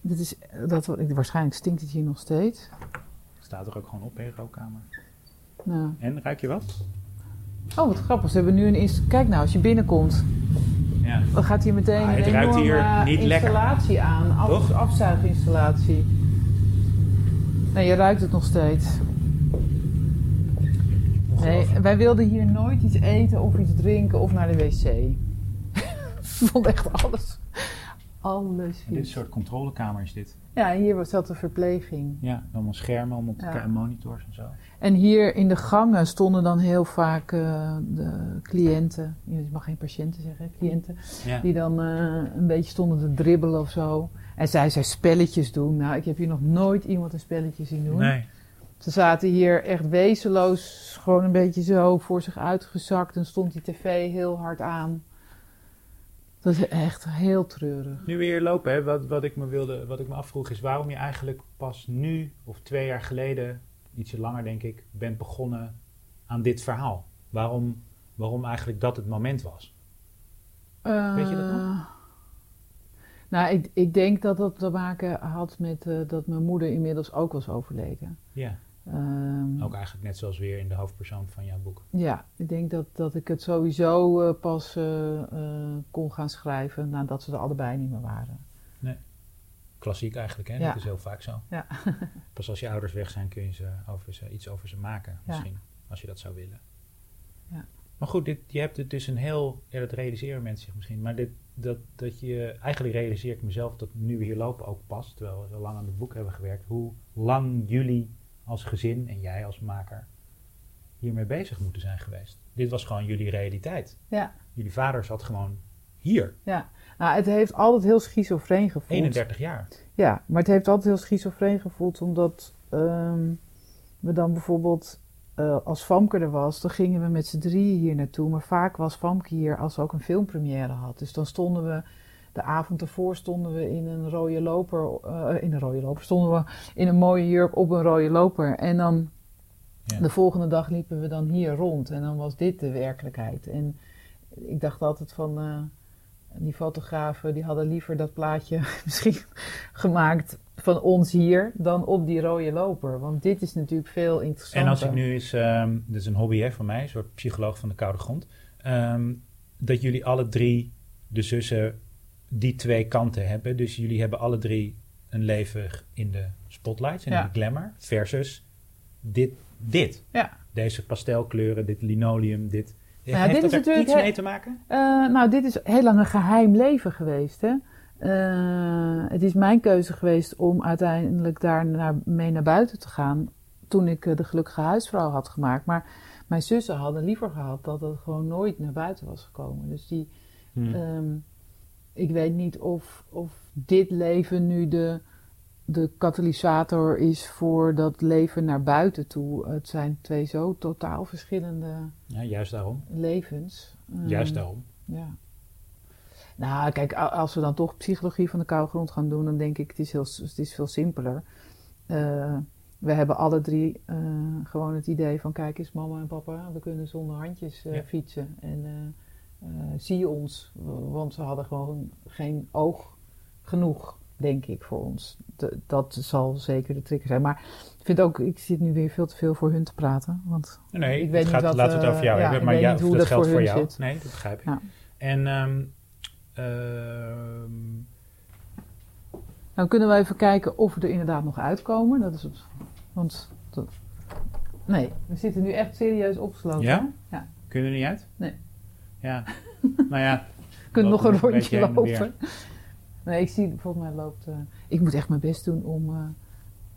Speaker 2: Dit is, dat, waarschijnlijk stinkt het hier nog steeds.
Speaker 3: Staat er ook gewoon op in de rookkamer.
Speaker 2: Nou.
Speaker 3: En ruik je wat?
Speaker 2: Oh, wat grappig. Ze hebben nu een inst- Kijk nou, als je binnenkomt,
Speaker 3: Ja.
Speaker 2: dan gaat hier meteen
Speaker 3: Ah,
Speaker 2: een
Speaker 3: het ruikt
Speaker 2: enorme
Speaker 3: hier niet lekker.
Speaker 2: installatie aan. Af,
Speaker 3: Toch?
Speaker 2: Afzuiginstallatie. Nee, je ruikt het nog steeds. Nee, wij wilden hier nooit iets eten of iets drinken of naar de wc. Ik vond echt alles. Alles
Speaker 3: Dit is een
Speaker 2: vies.
Speaker 3: soort controlekamer is dit.
Speaker 2: Ja, en hier zat de verpleging.
Speaker 3: Ja, allemaal schermen, allemaal
Speaker 2: Ja.
Speaker 3: ka- monitors en zo.
Speaker 2: En hier in de gangen stonden dan heel vaak eh, de cliënten. Je mag geen patiënten zeggen, hè, cliënten.
Speaker 3: Ja.
Speaker 2: Die dan eh, een beetje stonden te dribbelen of zo. En zij zei spelletjes doen. Nou, ik heb hier nog nooit iemand een spelletje zien doen.
Speaker 3: Nee.
Speaker 2: Ze zaten hier echt wezenloos, gewoon een beetje zo voor zich uitgezakt. En stond die tv heel hard aan. Dat is echt heel treurig.
Speaker 3: Nu weer lopen, hè, wat, wat, ik me wilde, wat ik me afvroeg is waarom je eigenlijk pas nu of twee jaar geleden, ietsje langer denk ik, bent begonnen aan dit verhaal. Waarom, waarom eigenlijk dat het moment was. Weet je dat nog?
Speaker 2: Eh, Nou, ik, ik denk dat dat te maken had met eh, dat mijn moeder inmiddels ook was overleden.
Speaker 3: Ja.
Speaker 2: Ehm,
Speaker 3: Ook eigenlijk net zoals weer in de hoofdpersoon van jouw boek.
Speaker 2: Ja, ik denk dat, dat ik het sowieso eh, pas eh, eh, kon gaan schrijven nadat ze er allebei niet meer waren.
Speaker 3: Klassiek eigenlijk, hè?
Speaker 2: Ja.
Speaker 3: Dat is heel vaak zo.
Speaker 2: Ja.
Speaker 3: Pas als je ouders weg zijn kun je ze over ze, iets over ze maken, misschien. Als je dat zou willen.
Speaker 2: Ja.
Speaker 3: Maar goed, dit, je hebt het dus een heel... Ja, dat realiseren mensen zich misschien. Maar dit, dat, dat je... Eigenlijk realiseer ik mezelf dat nu we hier lopen ook pas... terwijl we zo lang aan het boek hebben gewerkt... hoe lang jullie als gezin en jij als maker... hiermee bezig moeten zijn geweest. Dit was gewoon jullie realiteit.
Speaker 2: Ja,
Speaker 3: Jullie vader zat gewoon hier.
Speaker 2: ja. Nou, het heeft altijd heel schizofreen gevoeld.
Speaker 3: 31 jaar.
Speaker 2: Ja, maar het heeft altijd heel schizofreen gevoeld, omdat ehm, we dan bijvoorbeeld, eh, als Famke er was, dan gingen we met z'n drieën hier naartoe. Maar vaak was Famke hier als ze ook een filmpremière had. Dus dan stonden we, de avond ervoor stonden we in een rode loper, eh, in een rode loper, stonden we in een mooie jurk op een rode loper. En dan
Speaker 3: Ja.
Speaker 2: de volgende dag liepen we dan hier rond en dan was dit de werkelijkheid. En ik dacht altijd van... eh, die fotografen die hadden liever dat plaatje misschien gemaakt van ons hier dan op die rode loper. Want dit is natuurlijk veel interessanter.
Speaker 3: En als ik nu eens, ehm dit is een hobby hè, van mij, een soort psycholoog van de koude grond, ehm, dat jullie alle drie, de zussen, die twee kanten hebben. Dus jullie hebben alle drie een leven g- in de spotlights, en
Speaker 2: Ja.
Speaker 3: in de glamour, versus dit, dit.
Speaker 2: Ja.
Speaker 3: Deze pastelkleuren, dit linoleum, dit.
Speaker 2: Ja,
Speaker 3: Heeft
Speaker 2: dit
Speaker 3: dat
Speaker 2: is
Speaker 3: er
Speaker 2: natuurlijk
Speaker 3: iets
Speaker 2: he-
Speaker 3: mee te maken?
Speaker 2: Eh, nou, dit is heel lang een geheim leven geweest. Hè? Eh, het is mijn keuze geweest om uiteindelijk daar naar, mee naar buiten te gaan. Toen ik eh, de gelukkige huisvrouw had gemaakt. Maar mijn zussen hadden liever gehad dat het gewoon nooit naar buiten was gekomen. Dus die,
Speaker 3: Hm.
Speaker 2: Ehm, ik weet niet of, of dit leven nu de, de katalysator is voor dat leven naar buiten toe. Het zijn twee zo totaal verschillende
Speaker 3: Ja, juist daarom.
Speaker 2: levens. Ehm,
Speaker 3: Juist daarom.
Speaker 2: Ja. Nou, kijk, a- als we dan toch psychologie van de koude grond gaan doen, dan denk ik het is, heel, s- het is veel simpeler. Eh, we hebben alle drie eh, gewoon het idee van: kijk eens, mama en papa, we kunnen zonder handjes eh,
Speaker 3: Ja.
Speaker 2: fietsen. En eh, eh, zie je ons, w- want ze hadden gewoon geen oog genoeg, denk ik, voor ons. D- dat zal zeker de trigger zijn. Maar ik vind ook, ik zit nu weer veel te veel voor hun te praten. Want
Speaker 3: Nee,
Speaker 2: Ik
Speaker 3: het
Speaker 2: weet niet
Speaker 3: gaat,
Speaker 2: wat,
Speaker 3: laten we het
Speaker 2: eh,
Speaker 3: over jou
Speaker 2: ja,
Speaker 3: hebben,
Speaker 2: ik
Speaker 3: maar
Speaker 2: weet
Speaker 3: ja,
Speaker 2: niet
Speaker 3: of
Speaker 2: hoe
Speaker 3: dat,
Speaker 2: dat
Speaker 3: geldt
Speaker 2: voor
Speaker 3: voor
Speaker 2: hun
Speaker 3: jou.
Speaker 2: zit.
Speaker 3: Nee, dat begrijp ik.
Speaker 2: Ja.
Speaker 3: En ehm, ehm,
Speaker 2: Dan Nou, kunnen we even kijken of we er inderdaad nog uitkomen. Dat is op, want dat- nee, we zitten nu echt serieus opgesloten.
Speaker 3: Ja?
Speaker 2: hè? Ja.
Speaker 3: Kunnen er niet uit?
Speaker 2: Nee.
Speaker 3: Ja. nou ja.
Speaker 2: We kunnen nog
Speaker 3: Lopen
Speaker 2: een
Speaker 3: we een beetje
Speaker 2: rondje
Speaker 3: heen en
Speaker 2: lopen. Nee, ik zie, volgens mij loopt... eh, ik moet echt mijn best doen om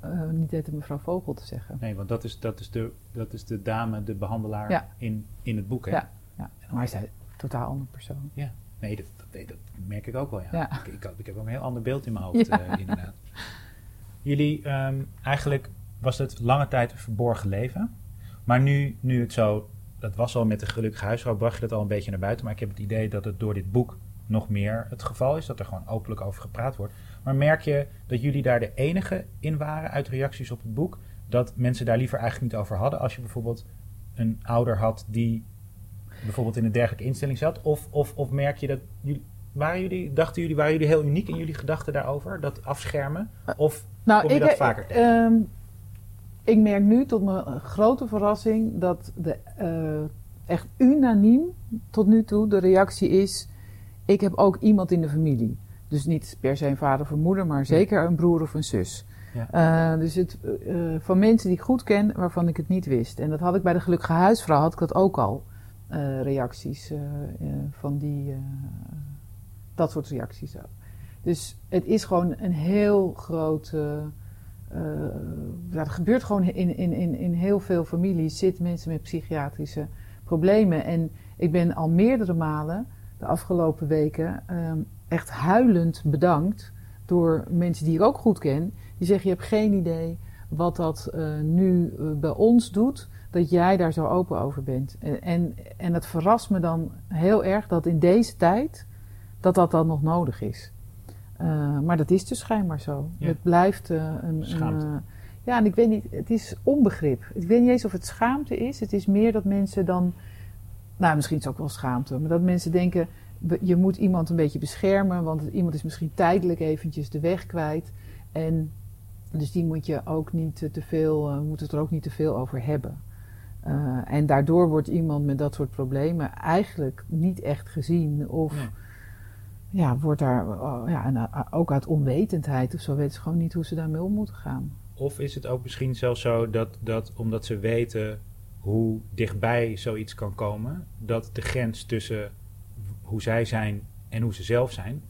Speaker 2: eh, eh, niet tegen mevrouw Vogel te zeggen.
Speaker 3: Nee, want dat is, dat is, de, dat is de dame, de behandelaar
Speaker 2: Ja.
Speaker 3: in, in het boek. Hè?
Speaker 2: Ja. Ja, maar zij is een totaal andere persoon.
Speaker 3: Nee, dat, dat, nee, dat merk ik ook wel. Ja.
Speaker 2: Ja.
Speaker 3: Ik, ik, ik heb ook een heel ander beeld in mijn hoofd,
Speaker 2: Ja.
Speaker 3: eh, inderdaad. Jullie, ehm, eigenlijk was het lange tijd een verborgen leven. Maar nu, nu het zo, dat was al met de gelukkige huisvrouw, bracht je dat al een beetje naar buiten. Maar ik heb het idee dat het door dit boek nog meer het geval is. Dat er gewoon openlijk over gepraat wordt. Maar merk je dat jullie daar de enige in waren uit reacties op het boek? Dat mensen daar liever eigenlijk niet over hadden? Als je bijvoorbeeld een ouder had die bijvoorbeeld in een dergelijke instelling zat? Of, of, of merk je dat jullie, waren jullie, dachten jullie, waren jullie heel uniek in jullie gedachten daarover? Dat afschermen? Of
Speaker 2: Nou,
Speaker 3: kom je
Speaker 2: ik,
Speaker 3: dat vaker tegen?
Speaker 2: ehm, ik merk nu tot mijn grote verrassing dat de, eh, echt unaniem tot nu toe de reactie is: ik heb ook iemand in de familie. Dus niet per se een vader of een moeder, maar zeker een broer of een zus. Eh, dus het, eh, eh, van mensen die ik goed ken, waarvan ik het niet wist. En dat had ik bij de Gelukkige Huisvrouw, had ik dat ook al. eh, reacties eh, eh, van die, eh, dat soort reacties ook. Dus het is gewoon een heel groot. eh, eh, ja, er gebeurt gewoon in, in, in, in heel veel families zitten mensen met psychiatrische problemen. En ik ben al meerdere malen de afgelopen weken ehm, echt huilend bedankt door mensen die ik ook goed ken. Die zeggen: Je hebt geen idee wat dat eh, nu eh, bij ons doet. Dat jij daar zo open over bent. En, en, en het verrast me dan heel erg dat in deze tijd dat dat dan nog nodig is. Eh, maar dat is dus schijnbaar zo.
Speaker 3: Ja.
Speaker 2: Het blijft eh, een- een.
Speaker 3: Schaamte.
Speaker 2: eh, ja, en ik weet niet, het is onbegrip. Ik weet niet eens of het schaamte is. Het is meer dat mensen dan. Nou, misschien is het ook wel schaamte, maar dat mensen denken: be- je moet iemand een beetje beschermen, want iemand is misschien tijdelijk eventjes de weg kwijt. En dus die moet je ook niet eh, te veel, eh, moet het er ook niet te veel over hebben. Eh, en daardoor wordt iemand met dat soort problemen eigenlijk niet echt gezien of
Speaker 3: Ja.
Speaker 2: ja, wordt daar, oh, ja, en eh, ook uit onwetendheid of zo weten ze gewoon niet hoe ze daarmee om moeten gaan.
Speaker 3: Of is het ook misschien zelfs zo dat, dat omdat ze weten hoe dichtbij zoiets kan komen, dat de grens tussen hoe zij zijn en hoe ze zelf zijn,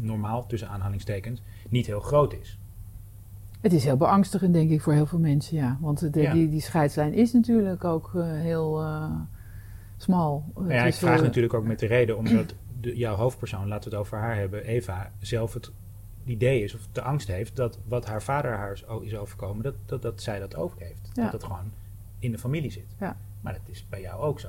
Speaker 3: normaal tussen aanhalingstekens, niet heel groot is.
Speaker 2: Het is heel beangstigend, denk ik, voor heel veel mensen, ja. Want de,
Speaker 3: Ja.
Speaker 2: Die, die scheidslijn is natuurlijk ook eh, heel eh, smal.
Speaker 3: Maar ja, ik vraag
Speaker 2: eh,
Speaker 3: natuurlijk ook met de reden omdat de, jouw hoofdpersoon, laten we het over haar hebben, Eva, zelf het idee is of de angst heeft dat wat haar vader haar is o- is overkomen, dat, dat, dat zij dat ook heeft.
Speaker 2: Ja.
Speaker 3: Dat dat gewoon in de familie zit.
Speaker 2: Ja.
Speaker 3: Maar dat is bij jou ook zo.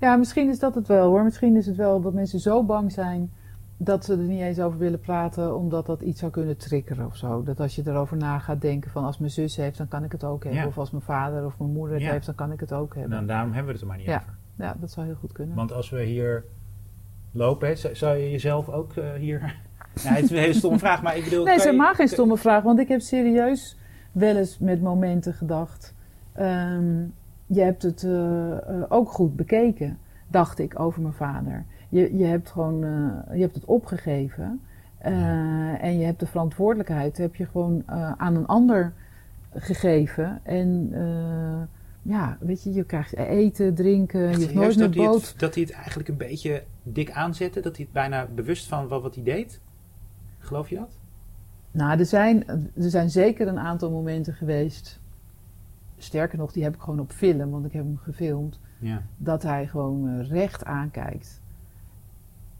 Speaker 2: Ja, misschien is dat het wel hoor. Misschien is het wel dat mensen zo bang zijn dat ze er niet eens over willen praten, omdat dat iets zou kunnen triggeren of zo. Dat als je erover na gaat denken van als mijn zus heeft, dan kan ik het ook hebben.
Speaker 3: Ja.
Speaker 2: Of als mijn vader of mijn moeder het
Speaker 3: Ja.
Speaker 2: heeft, dan kan ik het ook
Speaker 3: En
Speaker 2: hebben.
Speaker 3: dan, daarom hebben we het er maar niet over.
Speaker 2: Ja, dat zou heel goed kunnen.
Speaker 3: Want als we hier lopen, hè, zou- zou je jezelf ook eh, hier... Ja, het is een hele stomme vraag, maar ik bedoel...
Speaker 2: Nee,
Speaker 3: kan
Speaker 2: het is
Speaker 3: je-
Speaker 2: helemaal geen
Speaker 3: kan-
Speaker 2: stomme vraag, want ik heb serieus wel eens met momenten gedacht. ehm, je hebt het eh, eh, ook goed bekeken, dacht ik over mijn vader. Je, je hebt gewoon, eh, je hebt het opgegeven eh, en je hebt de verantwoordelijkheid heb je gewoon eh, aan een ander gegeven en eh, ja, weet je, je krijgt eten, drinken, je hoeft nooit
Speaker 3: Juist
Speaker 2: meer
Speaker 3: dat, hij
Speaker 2: boot.
Speaker 3: het, dat hij het eigenlijk een beetje dik aanzette. Dat hij het bijna bewust van wat, wat hij deed. Geloof je dat?
Speaker 2: Nou, er zijn, er zijn zeker een aantal momenten geweest. Sterker nog, die heb ik gewoon op film, want ik heb hem gefilmd.
Speaker 3: Ja.
Speaker 2: Dat hij gewoon eh, recht aankijkt.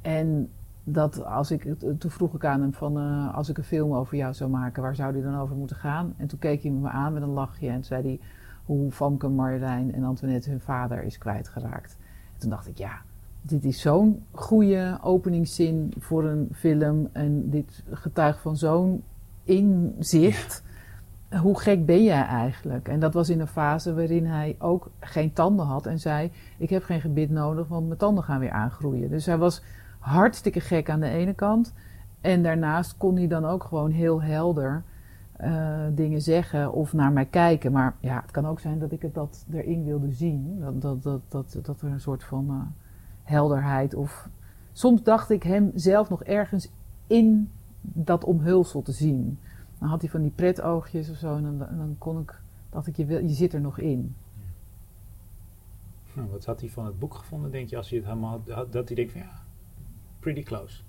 Speaker 2: En dat als ik, eh, toen vroeg ik aan hem van, eh, als ik een film over jou zou maken, waar zou die dan over moeten gaan? En toen keek hij me aan met een lachje en toen zei hij hoe Famke, Marjolein en Antoinette hun vader is kwijtgeraakt. En toen dacht ik, ja, dit is zo'n goede openingszin voor een film en dit getuigt van zo'n inzicht. Hoe gek ben jij eigenlijk? En dat was in een fase waarin hij ook geen tanden had en zei: Ik heb geen gebit nodig, want mijn tanden gaan weer aangroeien. Dus hij was hartstikke gek aan de ene kant. En daarnaast kon hij dan ook gewoon heel helder eh, dingen zeggen of naar mij kijken. Maar ja, het kan ook zijn dat ik het dat erin wilde zien. Dat, dat, dat, dat, dat er een soort van eh, helderheid of... Soms dacht ik hem zelf nog ergens in dat omhulsel te zien. Dan had hij van die pretoogjes of zo en dan, en dan kon ik... Dacht ik, je, wil, je zit er nog in.
Speaker 3: Nou, wat had hij van het boek gevonden, denk je, als hij het helemaal had- had? Dat hij denkt van, ja, pretty close.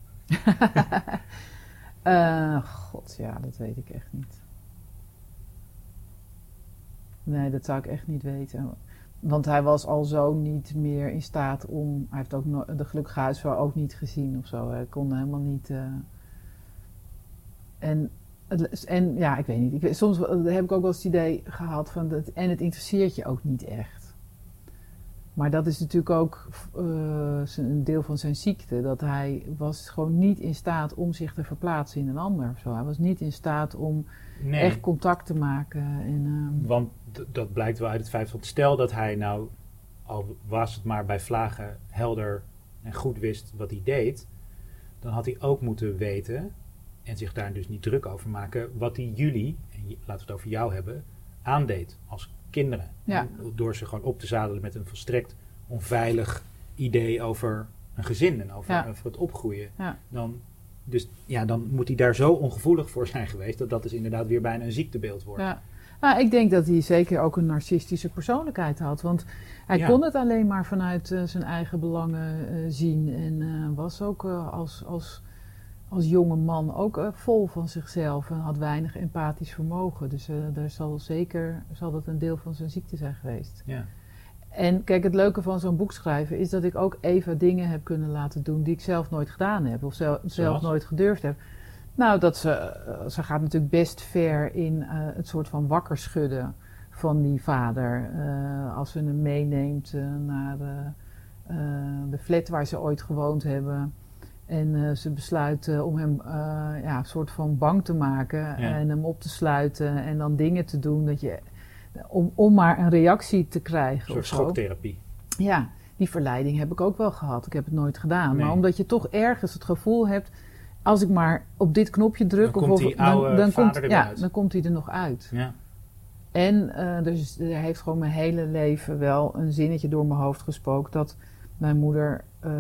Speaker 2: Eh, God, ja, dat weet ik echt niet. Nee, dat zou ik echt niet weten. Want hij was al zo niet meer in staat om. Hij heeft ook no- de gelukkige huisvrouw ook niet gezien of zo. Hij kon helemaal niet. eh, En, het- en ja, ik weet niet. Ik, weet- soms heb ik ook wel eens het idee gehad van. Dat, en het interesseert je ook niet echt. Maar dat is natuurlijk ook eh, zijn- een deel van zijn ziekte. Dat hij was gewoon niet in staat om zich te verplaatsen in een ander of zo. Hij was niet in staat om
Speaker 3: Nee,
Speaker 2: echt contact te maken. En, ehm,
Speaker 3: want d- dat blijkt wel uit het feit van... Stel dat hij nou, al was het maar bij vlagen helder en goed wist wat hij deed... Dan had hij ook moeten weten en zich daar dus niet druk over maken... wat hij jullie, en j- laten we het over jou hebben, aandeed als kinderen.
Speaker 2: Ja.
Speaker 3: Door ze gewoon op te zadelen met een volstrekt onveilig idee over een gezin... en over,
Speaker 2: Ja.
Speaker 3: over het opgroeien.
Speaker 2: Ja.
Speaker 3: Dan, dus ja, dan moet hij daar zo ongevoelig voor zijn geweest... dat dat dus inderdaad weer bijna een ziektebeeld wordt.
Speaker 2: Ja. Nou, ik denk dat hij zeker ook een narcistische persoonlijkheid had. Want hij
Speaker 3: Ja.
Speaker 2: kon het alleen maar vanuit eh, zijn eigen belangen eh, zien. En eh, was ook eh, als, als, als jonge man ook eh, vol van zichzelf. En had weinig empathisch vermogen. Dus eh, daar zal zeker zal dat een deel van zijn ziekte zijn geweest.
Speaker 3: Ja.
Speaker 2: En kijk, het leuke van zo'n boek schrijven is dat ik ook Eva dingen heb kunnen laten doen die ik zelf nooit gedaan heb of zelf, zelf nooit gedurfd heb. Nou, dat ze, eh, ze gaat natuurlijk best ver in eh, het soort van wakker schudden van die vader. eh, als ze hem meeneemt eh, naar de, eh, de flat waar ze ooit gewoond hebben. En eh, ze besluit eh, om hem eh, ja, een soort van bang te maken en hem op te sluiten en dan dingen te doen dat je, om, om maar een reactie te krijgen.
Speaker 3: Een soort
Speaker 2: of zo.
Speaker 3: schoktherapie.
Speaker 2: Ja, die verleiding heb ik ook wel gehad. Ik heb het nooit gedaan.
Speaker 3: Nee.
Speaker 2: Maar omdat je toch ergens het gevoel hebt, als ik maar op dit knopje druk,
Speaker 3: Dan
Speaker 2: of,
Speaker 3: komt
Speaker 2: of-
Speaker 3: die oude vader er weer
Speaker 2: ja,
Speaker 3: uit.
Speaker 2: dan komt hij er nog uit.
Speaker 3: Ja.
Speaker 2: En eh, dus er heeft gewoon mijn hele leven wel een zinnetje door mijn hoofd gespookt dat mijn moeder eh,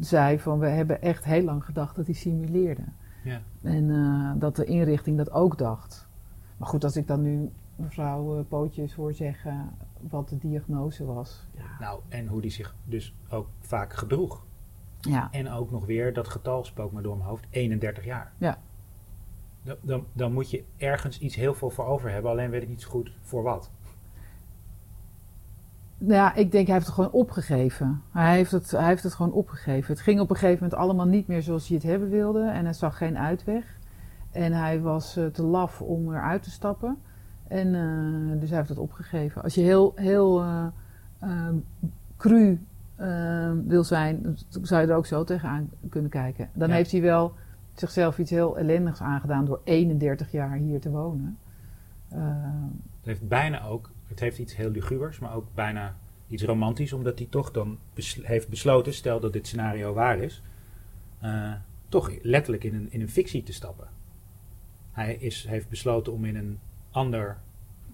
Speaker 2: zei van we hebben echt heel lang gedacht dat hij simuleerde.
Speaker 3: Ja.
Speaker 2: En eh, dat de inrichting dat ook dacht. Maar goed, als ik dan nu mevrouw eh, Pootjes hoor zeggen wat de diagnose was. Ja.
Speaker 3: Nou, en hoe die zich dus ook vaak gedroeg.
Speaker 2: ja.
Speaker 3: En ook nog weer, dat getal spookt me door mijn hoofd, 31 jaar.
Speaker 2: Ja.
Speaker 3: Dan, dan, dan moet je ergens iets heel veel voor over hebben, alleen weet ik niet zo goed voor wat.
Speaker 2: Nou ja, ik denk hij heeft het gewoon opgegeven. Hij heeft het, hij heeft het gewoon opgegeven. Het ging op een gegeven moment allemaal niet meer zoals hij het hebben wilde. En hij zag geen uitweg. En hij was eh, te laf om eruit te stappen. En eh, dus hij heeft het opgegeven. Als je heel, heel eh, eh, cru eh, wil zijn, dan zou je er ook zo tegenaan kunnen kijken. Dan
Speaker 3: Ja.
Speaker 2: heeft hij wel zichzelf iets heel ellendigs aangedaan door 31 jaar hier te wonen. Eh,
Speaker 3: Het heeft bijna ook, het heeft iets heel lugubers, maar ook bijna iets romantisch, omdat hij toch dan bes- heeft besloten, stel dat dit scenario waar is, eh, toch letterlijk in een, in een fictie te stappen. Hij is, heeft besloten om in een ander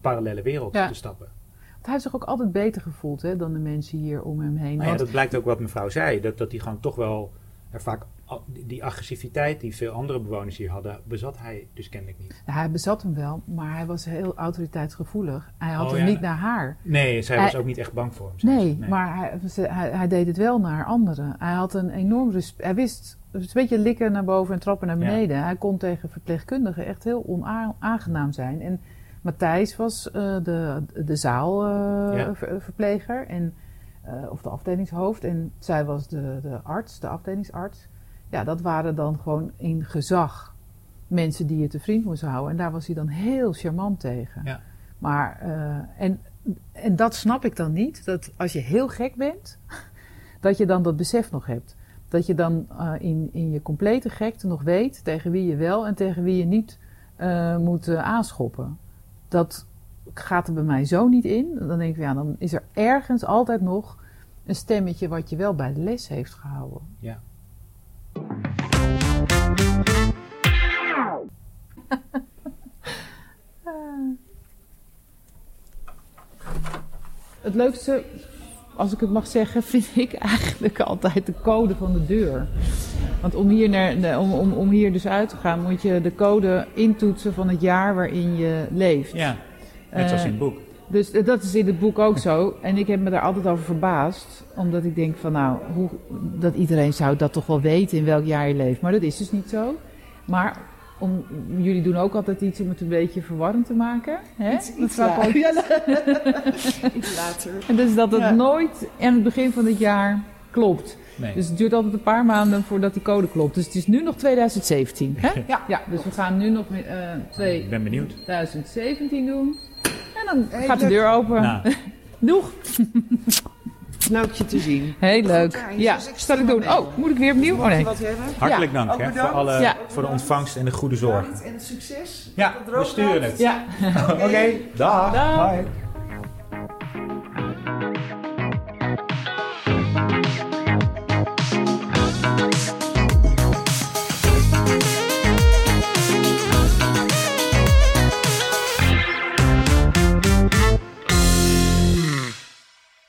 Speaker 3: parallele wereld
Speaker 2: Ja.
Speaker 3: te stappen.
Speaker 2: Want hij heeft zich ook altijd beter gevoeld hè, dan de mensen hier om hem heen.
Speaker 3: Nou ja,
Speaker 2: Want-
Speaker 3: dat blijkt ook wat mevrouw zei. Dat, dat hij gewoon toch wel er vaak al- die- die agressiviteit die veel andere bewoners hier hadden, bezat hij dus kennelijk niet.
Speaker 2: Ja, hij bezat hem wel, maar hij was heel autoriteitsgevoelig. Hij had
Speaker 3: Oh,
Speaker 2: hem
Speaker 3: ja.
Speaker 2: niet naar haar.
Speaker 3: Nee, zij
Speaker 2: Hij-
Speaker 3: was ook niet echt bang voor hem. zei
Speaker 2: Nee,
Speaker 3: ze.
Speaker 2: maar hij, ze- hij, hij deed het wel naar anderen. Hij had een enorm respect. Hij wist, het is een beetje likken naar boven en trappen naar
Speaker 3: Ja.
Speaker 2: beneden. Hij kon tegen verpleegkundigen echt heel onaangenaam zijn. En Matthijs was eh, de, de
Speaker 3: Ja.
Speaker 2: zaalverpleger en, eh, of de afdelingshoofd. En zij was de, de arts, de afdelingsarts. Ja, dat waren dan gewoon in gezag mensen die je te vriend moest houden. En daar was hij dan heel charmant tegen.
Speaker 3: Ja.
Speaker 2: Maar, eh, en, en dat snap ik dan niet. Dat als je heel gek bent, dat je dan dat besef nog hebt. Dat je dan eh, in, in je complete gekte nog weet tegen wie je wel en tegen wie je niet eh, moet eh, aanschoppen. Dat gaat er bij mij zo niet in. Dan denk ik, ja, dan is er ergens altijd nog een stemmetje wat je wel bij de les heeft gehouden. Het leukste, als ik het mag zeggen, vind ik eigenlijk altijd de code van de deur. Want om hier, naar, nee, om, om, om hier dus uit te gaan, moet je de code intoetsen van het jaar waarin je leeft.
Speaker 3: Ja, net zoals in het boek.
Speaker 2: Dus eh, dat is in het boek ook zo. En ik heb me daar altijd over verbaasd. Omdat ik denk van nou, hoe, dat iedereen zou dat toch wel weten in welk jaar je leeft. Maar dat is dus niet zo. Maar om, jullie doen ook altijd iets om het een beetje verwarrend te maken. Hè?
Speaker 4: Iets- iets
Speaker 2: Mevrouw
Speaker 4: lager.
Speaker 2: Kooltjes?
Speaker 4: Iets later.
Speaker 2: En dus dat het
Speaker 4: Ja.
Speaker 2: nooit aan het begin van het jaar klopt.
Speaker 3: Nee.
Speaker 2: Dus het duurt altijd een paar maanden voordat die code klopt. Dus het is nu nog 2017. Hè? Ja. ja, dus we gaan nu nog eh,
Speaker 3: ik ben benieuwd.
Speaker 2: 2017 doen. En dan
Speaker 4: Hey,
Speaker 2: gaat de
Speaker 4: leuk.
Speaker 2: deur open.
Speaker 3: Nou,
Speaker 2: Doeg!
Speaker 4: Leuk je te zien.
Speaker 2: Heel leuk.
Speaker 4: Thijs,
Speaker 2: ja,
Speaker 4: dus ik
Speaker 2: zal ik
Speaker 4: stem
Speaker 2: doen.
Speaker 4: hem
Speaker 2: Oh, moet ik weer opnieuw? Oh
Speaker 4: Mag je
Speaker 2: nee.
Speaker 4: wat hebben?
Speaker 3: hartelijk dank
Speaker 4: Ook
Speaker 3: hè, voor,
Speaker 4: bedankt.
Speaker 3: alle,
Speaker 2: Ja.
Speaker 3: voor de ontvangst en de goede zorg.
Speaker 4: En het succes.
Speaker 3: Ja,
Speaker 4: Dat er
Speaker 3: we
Speaker 4: ook
Speaker 3: sturen
Speaker 4: uit.
Speaker 3: het.
Speaker 2: Ja.
Speaker 4: Oké.
Speaker 3: Dag.
Speaker 2: Dag.
Speaker 3: Bye.